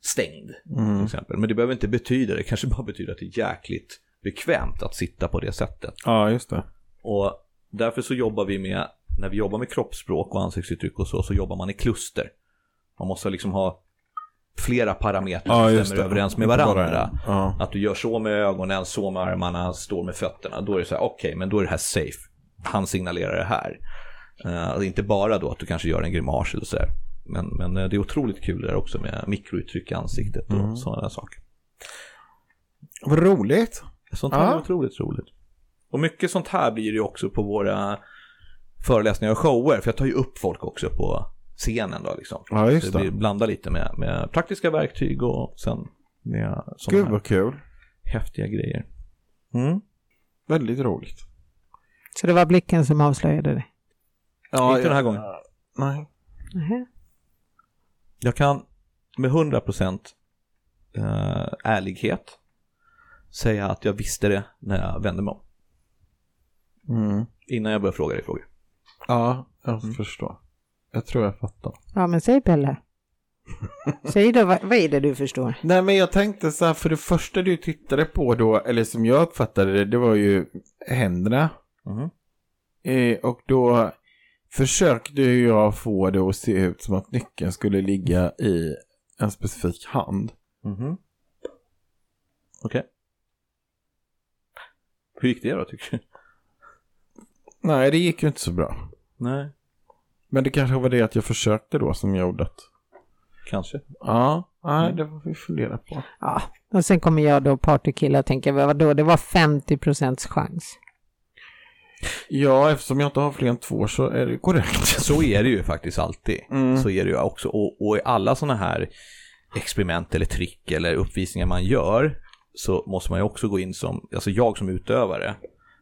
S1: stängd. Till exempel. Men det behöver inte betyda det, det kanske bara betyder att det är jäkligt bekvämt att sitta på det sättet.
S3: Ja, just det.
S1: Och därför så jobbar vi med, när vi jobbar med kroppsspråk och ansiktsuttryck och så, så jobbar man i kluster. Man måste liksom ha flera parametrar
S3: Ja,
S1: som
S3: just
S1: stämmer
S3: det.
S1: överens med
S3: Inte bara
S1: varandra.
S3: en. Ja.
S1: Att du gör så med ögonen, så med armarna, står med fötterna. Då är det så här, okej, men då är det här safe. Han signalerar det här. Eh, och inte bara då att du kanske gör en grimas eller så där. Men, men eh, det är otroligt kul det där också med mikrouttryck i ansiktet och
S3: Mm.
S1: sådana saker.
S3: Vad roligt.
S1: Sånt här
S3: Ja.
S1: är otroligt roligt. Och mycket sånt här blir det ju också på våra föreläsningar och shower, för jag tar ju upp folk också på scenen då liksom.
S3: Ja, just
S1: Så det blir,
S3: det.
S1: blandar lite med, med praktiska verktyg och sen med sådana
S3: Gud
S1: här
S3: vad kul.
S1: häftiga grejer. Mm.
S3: Väldigt roligt.
S2: Så det var blicken som avslöjade det.
S3: Ja,
S1: Inte den här gången.
S3: Nej.
S2: Nähä.
S1: Jag kan med 100% eh, ärlighet säga att jag visste det när jag vände mig om.
S3: Mm.
S1: Innan jag började fråga dig frågor.
S3: Ja, jag förstår. Jag tror jag fattar.
S2: Ja, men säg Pelle. Säg då, vad, vad är det du förstår?
S3: Nej, men jag tänkte så här, för det första du tittade på då, eller som jag uppfattade det, det var ju händerna. Mm.
S1: Mhm.
S3: Eh, och då försökte ju jag få det att se ut som att nyckeln skulle ligga i en specifik hand.
S1: Mhm. Okej. Hur gick det då tycker du?
S3: Nej, det gick ju inte så bra.
S1: Nej.
S3: Men det kanske var det att jag försökte då som gjorde att...
S1: Kanske.
S3: Ja, nej, det får vi fundera på.
S2: Ja, och sen kommer jag då partykille och tänker, vadå, det var 50 procents chans.
S3: Ja, eftersom jag inte har fler än två så är det korrekt.
S1: Så är det ju faktiskt alltid.
S3: Mm.
S1: Så är det ju också. Och, och i alla sådana här experiment eller trick eller uppvisningar man gör så måste man ju också gå in som, alltså jag som utövare,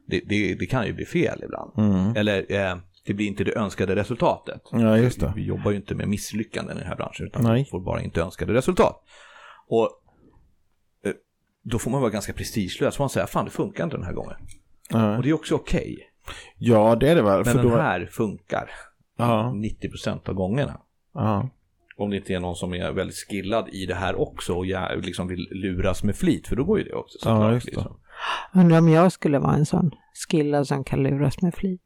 S1: det, det, det kan ju bli fel ibland.
S3: Mm.
S1: Eller eh, det blir inte det önskade resultatet.
S3: Ja, just det.
S1: Vi jobbar ju inte med misslyckanden i den här branschen utan
S3: Nej.
S1: vi får bara inte önskade resultat. Och eh, då får man vara ganska prestigelös, får man säga fan det funkar inte den här gången.
S3: Nej.
S1: Och det är också okej,
S3: Ja, det är det väl.
S1: men
S3: för då...
S1: den här funkar
S3: Ja,
S1: 90% av gångerna.
S3: ja.
S1: Om det inte är någon som är väldigt skillad i det här också och jag liksom vill luras med flit, för då går ju det också
S3: Ja,
S1: såklart.
S3: just det.
S1: liksom.
S2: Undrar om jag skulle vara en sån skillad som kan luras med flit.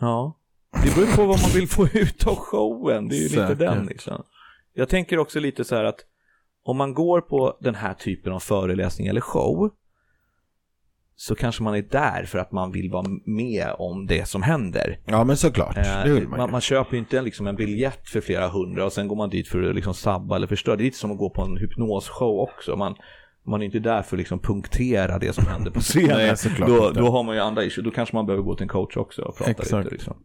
S1: Ja. Det beror på vad man vill få ut av showen. Det är ju lite
S3: Säkert.
S1: den liksom. Jag tänker också lite så här att om man går på den här typen av föreläsning eller show så kanske man är där för att man vill vara med om det som händer.
S3: Ja, men såklart.
S1: Eh,
S3: det vill man,
S1: man,
S3: ju.
S1: man köper ju inte en, liksom, en biljett för flera hundra och sen går man dit för att liksom, sabba eller förstöra. Det är lite som att gå på en hypnosshow också. Man, man är inte där för att liksom, punktera det som händer på scenen.
S3: Nej, såklart
S1: då,
S3: inte.
S1: då har man ju andra issue. Då kanske man behöver gå till en coach också och prata
S3: Exakt.
S1: lite. Liksom.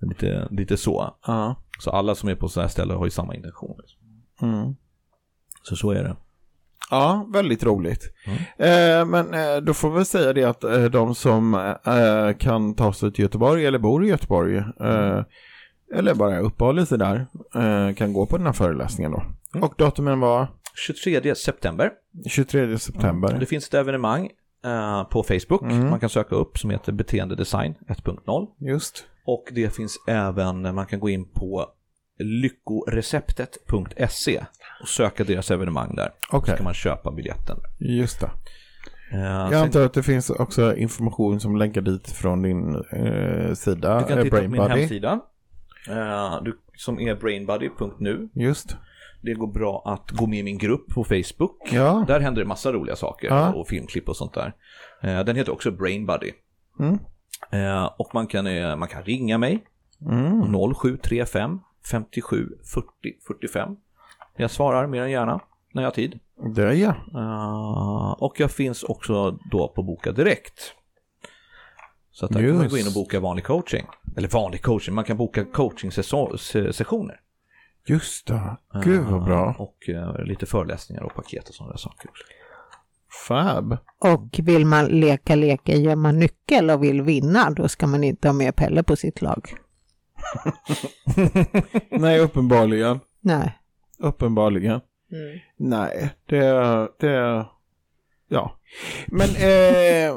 S1: Lite, lite så.
S3: Ja.
S1: Så alla som är på sådana här ställen har ju samma intention. Liksom.
S3: Mm.
S1: Så så är det.
S3: Ja, väldigt roligt.
S1: Mm.
S3: Eh, men eh, då får vi säga det att eh, de som eh, kan ta sig till Göteborg eller bor i Göteborg eh, eller bara uppehåller sig där eh, kan gå på den här föreläsningen då.
S1: Mm.
S3: Och datumen var
S1: 23 september.
S3: 23 september.
S1: Det finns ett evenemang eh, på Facebook. Man kan söka upp som heter Beteendedesign 1.0.
S3: Just.
S1: Och det finns även, man kan gå in på lyckoreceptet.se och söka deras evenemang där.
S3: Okej,
S1: Så kan man köpa biljetten.
S3: just det.
S1: Eh,
S3: Jag
S1: sen,
S3: antar att det finns också information som länkar dit från din eh, sida,
S1: du kan
S3: eh,
S1: titta på min
S3: Brainbuddy.
S1: hemsida. Eh, du, som är brainbuddy.nu.
S3: Just.
S1: Det går bra att gå med i min grupp på Facebook.
S3: Ja.
S1: Där händer det massa roliga saker
S3: Ja.
S1: och filmklipp och sånt där. Eh, den heter också Brainbuddy.
S3: Mm.
S1: Eh, och man kan, eh, man kan ringa mig
S3: Mm.
S1: 0735 57 40 45. Jag svarar mer än gärna när jag har tid.
S3: Det är jag.
S1: Eh, och jag finns också då på Boka Direkt. Så att där kan man
S3: Just.
S1: gå in och boka vanlig coaching. Eller vanlig coaching, man kan boka coaching-sessioner.
S3: Just det. Gud vad bra.
S1: Och eh, lite föreläsningar och paket och sådana där saker. också.
S3: Fab.
S2: Och vill man leka leka gömma nyckel och vill vinna, då ska man inte ha med Pelle på sitt lag.
S3: Nej, uppenbarligen.
S2: Nej.
S3: Uppenbarligen. Nej, det... det ja. Men eh,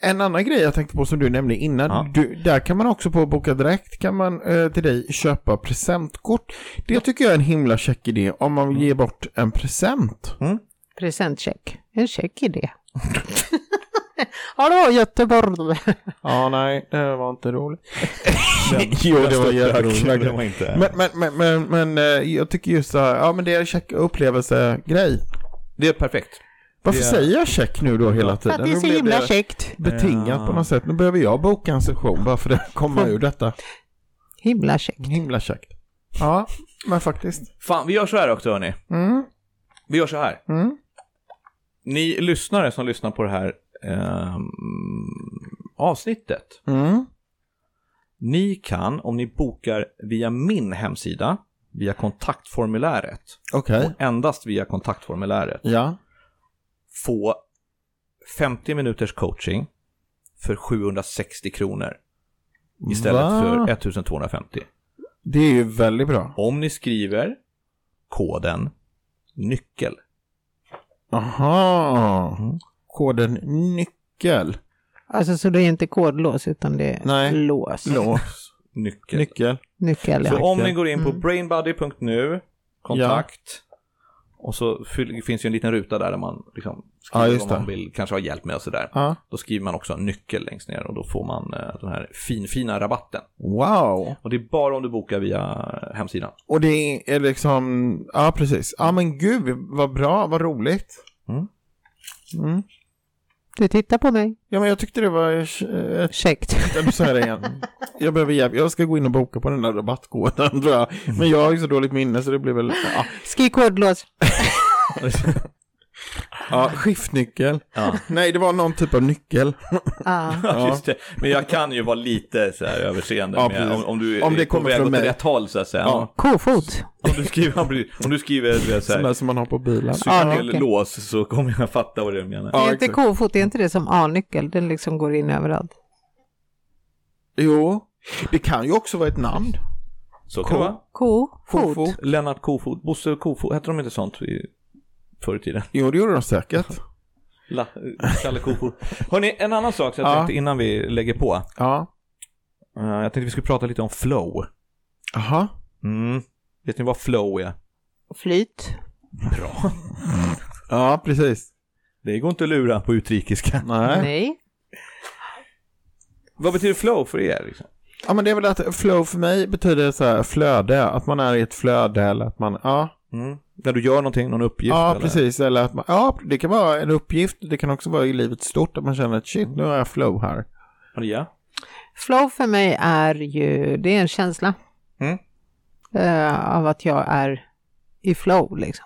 S3: en annan grej jag tänkte på som du nämnde innan.
S1: Ja.
S3: Du, där kan man också på Boka Direkt kan man eh, till dig köpa presentkort. Det tycker jag är en himla check idé om man
S1: Mm.
S3: vill ge bort en present.
S2: Presentcheck. En check i det. Hallå Göteborg!
S3: Ja, nej, det var inte roligt. jo, det var jätteroligt.
S1: Det
S3: verkligen.
S1: var inte.
S3: Men, men, men, men, men eh, jag tycker just så här, ja men det är en check upplevelse-grej.
S1: Det är perfekt.
S3: Varför
S1: Det är-
S3: säger jag check nu då hela
S2: För
S3: tiden?
S2: att det är
S3: Nu
S2: så
S3: blev
S2: himla
S3: det-
S2: käckt.
S3: betingat
S1: Ja.
S3: på något sätt. Nu behöver jag boka en session bara för att komma ur detta.
S2: Himla käckt.
S3: Himla käckt. Ja, men faktiskt.
S1: Fan, vi gör så här också hörni.
S3: Mm,
S1: Vi gör så här.
S3: mm.
S1: Ni lyssnare som lyssnar på det här ehm, avsnittet.
S3: Mm.
S1: Ni kan, om ni bokar via min hemsida, via kontaktformuläret,
S3: Okej.
S1: och endast via kontaktformuläret,
S3: Ja.
S1: få 50 minuters coaching för 760 kronor istället
S3: Va?
S1: för 1250.
S3: Det är ju väldigt bra.
S1: Om ni skriver koden nyckel.
S3: Aha.
S2: Mm.
S3: Koden nyckel.
S2: Alltså så det är inte kodlås utan det är
S3: Nej.
S2: lås.
S3: Lås.
S1: Nyckel.
S3: Nyckel.
S2: Nyckel
S1: Så
S2: ja.
S1: om ni går in på brainbody.nu, kontakt, och så fyll- finns ju en liten ruta där, där man liksom skriver
S3: Ja, just
S1: vad man
S3: det.
S1: vill, kanske ha hjälp med och sådär.
S3: Ja.
S1: Då skriver man också nyckel längst ner och då får man eh, den här finfina rabatten.
S3: Wow.
S1: Och det är bara om du bokar via eh, hemsidan.
S3: Och det är liksom, ja precis. Ja men gud vad bra, vad roligt.
S1: Mm.
S3: Mm.
S2: Du tittar på mig.
S3: Ja men jag tyckte det var eh,
S2: Käckt.
S3: Jag måste säga det igen. Jag behöver hjälp. Jag ska gå in och boka på den där rabattkoden tror jag. Men jag har ju så dåligt minne så det blir väl... Ja,
S2: Skriv kodlås.
S3: ja skiftnyckel.
S1: Ja.
S3: Nej, det var någon typ av nyckel.
S2: Ja.
S3: Ja.
S1: Just det. Men jag kan ju vara lite så här överseende
S3: Ja,
S1: med,
S3: precis.
S1: om, om du
S3: Om det
S1: är på
S3: kommer
S1: väg
S3: från
S1: åt
S3: mig.
S1: rätt håll så att säga.
S3: Ja.
S2: Kofot.
S1: Om du skriver, om du skriver du vet, så
S3: Sån där
S1: här,
S3: som man har på bilen.
S1: cykellås så kommer jag fatta vad du menar.
S3: Ja,
S2: är inte
S3: exakt.
S2: kofot, det är inte det som A-nyckel? Den liksom går in överallt.
S3: Jo. Det kan ju också vara ett namn.
S1: Så kan det vara.
S2: Kofot.
S3: Kofot.
S1: Lennart Kofot, Bosse Kofot, hette de inte sånt i, förr i tiden?
S3: Jo, det gjorde de säkert.
S1: La, Kalle Kofot. Hörrni, en annan sak som jag
S3: Ja.
S1: tänkte innan vi lägger på.
S3: Ja.
S1: Eh, jag tänkte vi skulle prata lite om flow.
S3: Aha.
S1: Mm. Vet ni vad flow är?
S2: Flyt.
S1: Bra.
S3: Ja, precis.
S1: Det går inte att lura på utrikiska.
S3: Nej.
S2: Nej.
S1: Vad betyder flow för er? Liksom?
S3: Ja, men det är väl att flow för mig betyder så här flöde, att man är i ett flöde eller att man, ja,
S1: Mm. När du gör någonting, någon uppgift?
S3: ja
S1: eller?
S3: precis, eller att man, ja, det kan vara en uppgift, det kan också vara i livet stort, att man känner att shit, nu har jag flow här.
S1: Maria?
S2: Flow för mig är ju, det är en känsla
S1: Mm.
S2: eh, av att jag är i flow liksom.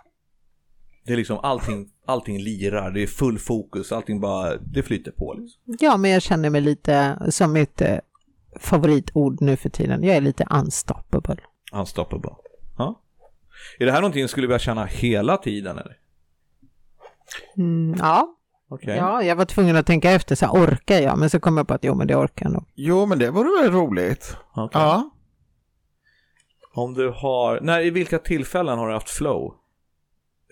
S1: Det är liksom allting, allting lirar, det är full fokus, allting bara, det flyter på. Liksom.
S2: Ja, men jag känner mig lite som mitt eh, favoritord nu för tiden. Jag är lite unstoppable.
S1: Unstoppable. Ja. Är det här någonting du skulle vilja känna hela tiden eller?
S2: Mm, ja.
S1: Okej.
S2: ja, jag var tvungen att tänka efter, så här, orkar jag? Men så kom jag på att jo, men det orkar jag nog.
S3: Jo, men det vore väl roligt.
S1: Okej.
S3: Ja.
S1: Om du har, när, i vilka tillfällen har du haft flow?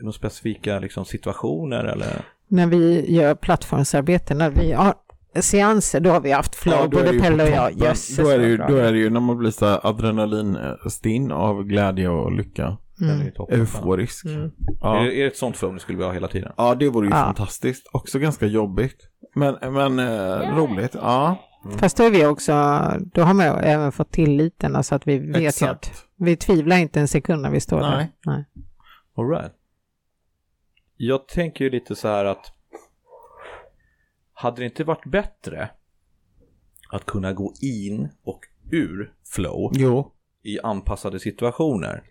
S1: I några specifika liksom, situationer eller?
S2: När vi gör plattformsarbete, när vi har seanser, då har vi haft flow,
S3: Ja, då är det
S2: både
S3: ju
S2: Pelle och
S3: på
S2: jag.
S3: toppen.
S2: Jösses,
S3: Då är, det ju,
S2: vad
S3: då
S2: bra.
S3: är det ju när man blir så här adrenalinstinn av glädje och lycka.
S1: Den är
S2: Mm.
S1: ju toppen.
S3: Euforisk.
S2: Mm.
S1: Är,
S3: Ja.
S1: det- är det ett sånt flow du skulle vilja ha hela tiden?
S3: ja, det vore ju
S2: Ja.
S3: fantastiskt. Också ganska jobbigt. Men, men eh, roligt. Ja,
S2: Fast då är vi också, då har man ju även fått tilliten, alltså att vi vet ju att
S3: exakt.
S2: Vi tvivlar inte en sekund när vi står
S3: Nej.
S2: där. Nej.
S1: All right. Jag tänker ju lite så här att hade det inte varit bättre att kunna gå in och ur flow
S3: Jo,
S1: i anpassade situationer?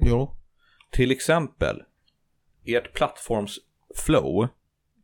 S3: jo.
S1: Till exempel, ert plattformsflow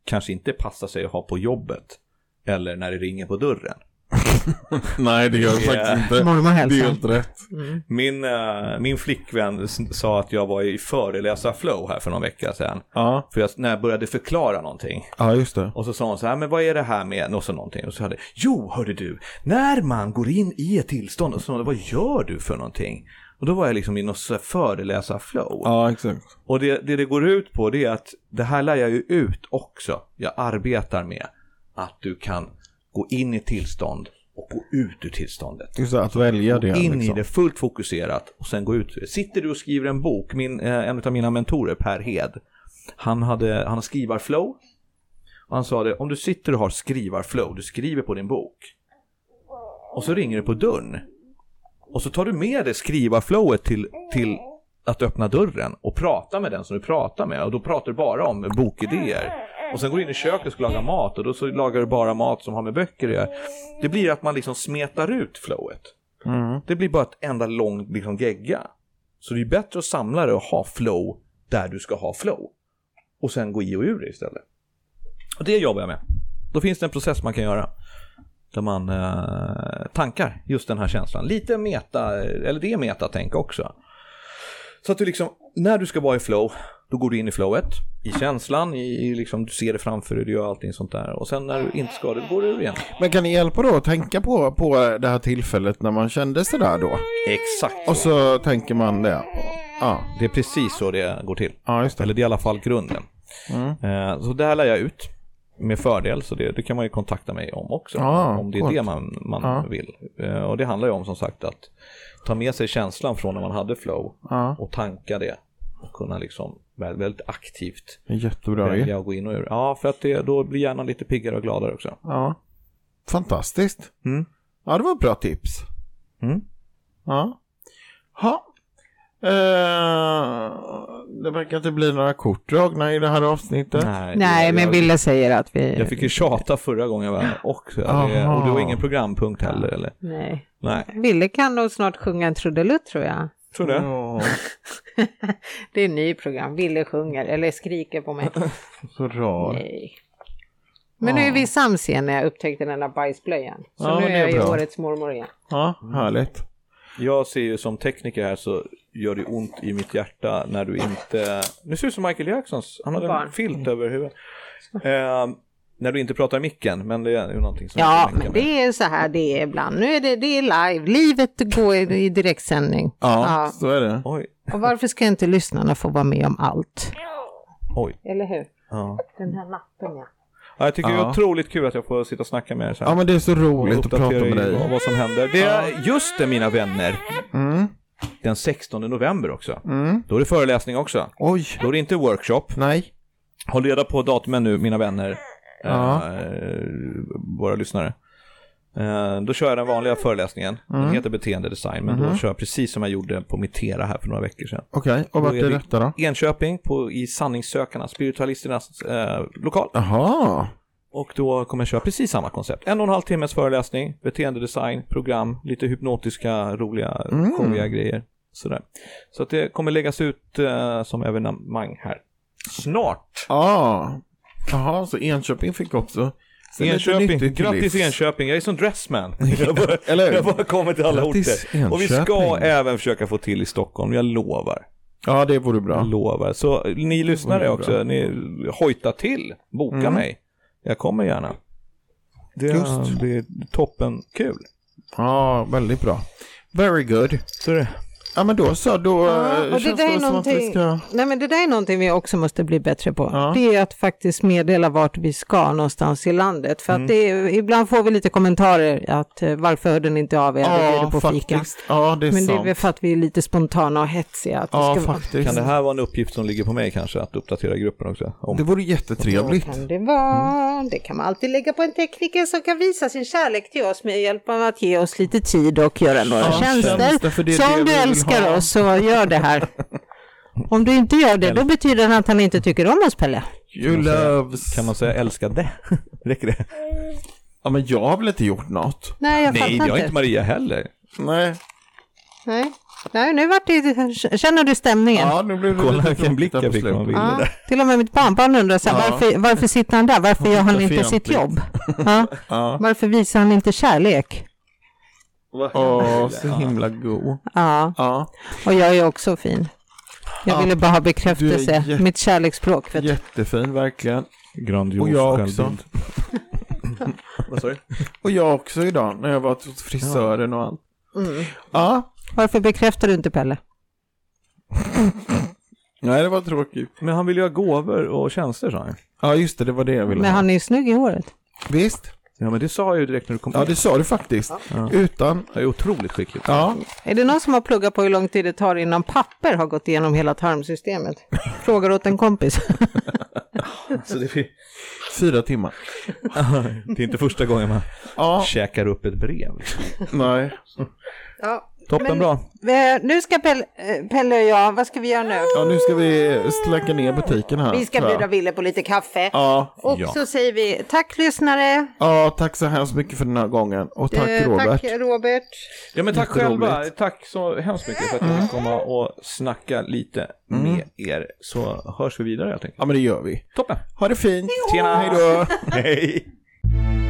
S1: kanske inte passar sig att ha på jobbet eller när det ringer på dörren.
S3: Nej, det gör det
S1: Yeah.
S3: faktiskt inte.
S2: Mormor
S3: Det är
S2: hälsar.
S3: helt rätt.
S1: Min, eh, min flickvän s- sa att jag var i föreläsarflow här för någon vecka sedan.
S3: Ja,
S1: För jag, när jag började förklara någonting.
S3: ja just det.
S1: Och så sa hon så här, men vad är det här med? Och så någonting. Och så hade, jo, hörde du, när man går in i ett tillstånd, och så sa hon, vad gör du för någonting? Och då var jag liksom i något så här föreläsarflow.
S3: Ja, exakt.
S1: Och det, det det går ut på det är att det här lär jag ju ut också. Jag arbetar med att du kan gå in i tillstånd och gå ut ur tillståndet.
S3: Just det, att välja det.
S1: In
S3: liksom.
S1: i det fullt fokuserat och sen gå ut. ur det. Sitter du och skriver en bok, min, eh, en av mina mentorer Per Hed, han, hade, han har skrivarflow. Och han sa det, om du sitter och har skrivarflow, du skriver på din bok. Och så ringer det på dörren. Och så tar du med det skrivarflowet till, till att öppna dörren och prata med den som du pratar med. Och då pratar du bara om bokidéer. Och sen går du in i köket och ska laga mat och då så lagar du bara mat som har med böcker att göra. Det blir att man liksom smetar ut flowet.
S3: Mm.
S1: Det blir bara ett enda långt liksom, gegga. Så det är bättre att samla det och ha flow där du ska ha flow. Och sen gå i och ur det istället. Och det jobbar jag med. Då finns det en process man kan göra. Där man eh, tankar just den här känslan. Lite meta, eh, eller det är metatänk också. Så att du liksom, när du ska vara i flow, då går du in i flowet. I känslan, i, i liksom, du ser det framför dig, du gör allting sånt där. Och sen när du inte ska, då går du ur igen.
S3: Men kan ni hjälpa då att tänka på, på det här tillfället när man kände sådär då?
S1: Exakt.
S3: Och så tänker man det. Ja,
S1: Det är precis så det går till.
S3: ja just det.
S1: Eller det är i alla fall grunden.
S3: Mm.
S1: Eh, så det här lär jag ut med fördel, så det, det kan man ju kontakta mig om också.
S3: Ja,
S1: om det är
S3: coolt.
S1: det man, man
S3: Ja.
S1: vill. Eh, och det handlar ju om som sagt att ta med sig känslan från när man hade flow
S3: Ja.
S1: och tanka det. Och kunna liksom väldigt, väldigt aktivt
S3: Jättebra ju.
S1: välja att gå in och ur. Ja, för att det, då blir hjärnan lite piggare och gladare också.
S3: Ja. Fantastiskt.
S1: Mm.
S3: Ja, det var ett bra tips.
S1: Mm.
S3: Ja. Ha. Eh, det verkar inte bli några kort dragna i det här avsnittet.
S1: Nej,
S2: Nej,
S1: jag-
S2: men
S1: jag-
S2: Ville säger att vi...
S1: Jag fick ju tjata förra gången jag var här också. Det,
S3: Aha.
S1: och det var ingen programpunkt heller, eller?
S2: Nej.
S1: Nej.
S2: Ville kan nog snart sjunga en trudelutt tror jag.
S1: Tror du?
S3: Ja,
S2: Det är en ny program. Ville sjunger, eller skriker på mig.
S3: så bra.
S2: Nej. Men nu är vi sams igen när jag upptäckte den där bajsblöjan. Så
S3: Ja,
S2: nu
S3: men det
S2: är
S3: är
S2: jag ju
S3: bra.
S2: årets mormor igen.
S3: Ja, härligt.
S1: Jag ser ju som tekniker här så gör det ont i mitt hjärta när du inte... Nu ser det ut som Michael Jacksons, han hade
S2: Barn.
S1: en filt över huvudet. Eh, när du inte pratar i micken, men det är ju någonting som... jag
S2: Ja,
S1: kan
S2: men
S1: länka med.
S2: det är så här det är ibland. Nu är det, det är live. Livet går i i direktsändning.
S3: Ja,
S2: Ja.
S3: så är det.
S1: Oj,
S2: Och varför ska inte lyssnarna få vara med om allt?
S1: oj.
S2: Eller hur?
S1: Ja.
S2: Den här natten ja.
S1: Ja, jag tycker det är
S3: Ja.
S1: otroligt kul att jag får sitta och snacka med er så här.
S3: Ja, men det är så roligt att prata
S1: Uppdatera
S3: med
S1: er om
S3: dig.
S1: vad som händer. Det är just det mina vänner. den 16 november också.
S3: Mm.
S1: Då är det föreläsning också.
S3: Oj.
S1: Då är det inte workshop.
S3: Nej.
S1: Håll reda på datumen nu, mina vänner.
S3: Ja.
S1: Eh, våra lyssnare. Eh, då kör jag den vanliga föreläsningen. Den heter beteendedesign, men då kör jag precis som jag gjorde på Mitera här för några veckor sedan.
S3: Okej, och vart
S1: Då är
S3: är
S1: vi-
S3: detta då?
S1: Enköping på, i sanningssökarna, spiritualisternas eh, lokal.
S3: Jaha.
S1: Och då kommer jag köra precis samma koncept. En och en halv timmes föreläsning, beteendedesign, program, lite hypnotiska, roliga, showiga grejer. Sådär. Så att det kommer läggas ut eh, som evenemang här. Snart!
S3: Ja. Ah. Jaha, så Enköping fick också. Så lite nyttigt
S1: Enköping,
S3: till
S1: grattis
S3: livs.
S1: Enköping, jag är som dressman. Jag bara,
S3: Eller hur?
S1: jag bara kommer till alla
S3: Grattis,
S1: orter. Och vi ska
S3: Enköping.
S1: även försöka få till i Stockholm, jag lovar.
S3: Ja, det vore bra.
S1: Jag lovar. Så ni lyssnare
S3: bra. Mm.
S1: också, ni hojta till, boka mig. Jag kommer gärna. Det,
S3: Just.
S1: det är toppen kul.
S3: Ja, väldigt bra. Very good.
S1: Så det.
S3: Ja, men då så. Då
S2: Ja,
S3: eh,
S2: och det
S3: känns
S2: där är
S3: väl som att vi
S2: någonting,
S3: ska...
S2: nej men det där är någonting vi också måste bli bättre på.
S3: Ja.
S2: Det är att faktiskt meddela vart vi ska någonstans i landet.
S3: Mm.
S2: För att det är, ibland får vi lite kommentarer att eh, varför hörde ni inte av er? Vi bjuder på fika.
S3: faktiskt. Ja, det är
S2: Men det är
S3: sant.
S2: väl för att vi är lite spontana och hetsiga. Att
S3: Ja,
S2: det ska
S3: faktiskt.
S1: Kan det här vara en uppgift som ligger på mig kanske, att uppdatera gruppen också? Om
S3: Det vore jättetrevligt.
S2: kan det vara.
S3: Mm.
S2: Det kan man alltid lägga på en tekniker som kan visa sin kärlek till oss med hjälp av att ge oss lite tid och göra några
S3: Ja, tjänster,
S2: tjänster.
S3: för det är
S2: så
S3: det
S2: om
S3: vi
S2: du
S3: vill ha.
S2: älskar oss så gör det här. Om du inte gör det, då betyder det att han inte tycker om oss, Pelle.
S3: You loves.
S1: kan man säga älskade? Räcker det?
S3: Ja, men jag har väl inte gjort något?
S2: Nej, jag
S1: Nej,
S2: fattar
S1: jag är
S2: inte.
S1: inte Maria heller.
S3: Nej.
S2: Nej. Nej, nu vart det, känner du stämningen?
S3: Ja, nu blev det
S1: Kolla
S3: lite
S1: vilken
S3: tråkigt
S1: blick
S3: där på
S1: jag fick
S3: slutet.
S1: man ville
S2: Ja,
S1: där.
S2: till och med mitt barnbarn undrar så här,
S3: Ja.
S2: varför, varför sitter han där? Varför gör han inte sitt
S3: fientlig.
S2: jobb? Ja. Varför visar han inte kärlek?
S3: Åh, så himla god.
S2: Ja,
S3: Ja,
S2: och jag är också fin. Jag
S3: Ja,
S2: ville bara ha
S3: du är
S2: bekräftelse,
S3: jätte-
S2: mitt kärleksspråk. Vet du.
S3: jättefin verkligen.
S1: Grandios
S3: Och jag också.
S1: Vad sa du?
S3: Och jag också idag när jag var hos frisören och allt.
S2: Mm.
S3: Ja,
S2: Varför bekräftar du inte Pelle?
S3: nej det var tråkigt.
S1: Men han vill ju ha gåvor och tjänster sa han.
S3: Ja, just det, det var det jag ville
S2: Men
S3: ha.
S2: han är ju snygg i håret.
S3: Visst?
S1: Ja, men det sa jag ju direkt när du kom
S3: Ja,
S1: in.
S3: det sa du faktiskt. Utan,
S1: Jag är otroligt skicklig.
S3: ja,
S2: Är det någon som har pluggat på hur lång tid det tar innan papper har gått igenom hela tarmsystemet? Frågar åt en kompis.
S1: Så det, är-
S3: fyra timmar.
S1: det är inte första gången man
S3: Ja,
S1: käkar upp ett brev. liksom.
S3: nej.
S2: Ja.
S1: Toppen bra.
S2: Men, eh, nu ska Pelle, eh, Pelle och jag, vad ska vi göra nu?
S3: Ja, nu ska vi släcka ner butiken här.
S2: Vi ska
S3: tror jag.
S2: bjuda Ville på lite kaffe.
S3: Ja,
S2: Och
S1: Ja.
S2: så säger vi tack lyssnare.
S3: ja, tack så hemskt mycket för den här gången. Och tack
S2: Eh,
S3: Robert.
S2: Tack Robert.
S1: Ja, men tack
S3: Jätteroligt.
S1: själva. Tack så hemskt mycket för att
S3: Mm.
S1: jag fick komma och snacka lite med er. Så hörs vi vidare helt enkelt.
S3: Ja, men det gör vi.
S1: Toppen.
S3: Ha det fint.
S1: Tjena.
S3: Hej då.
S1: Hej.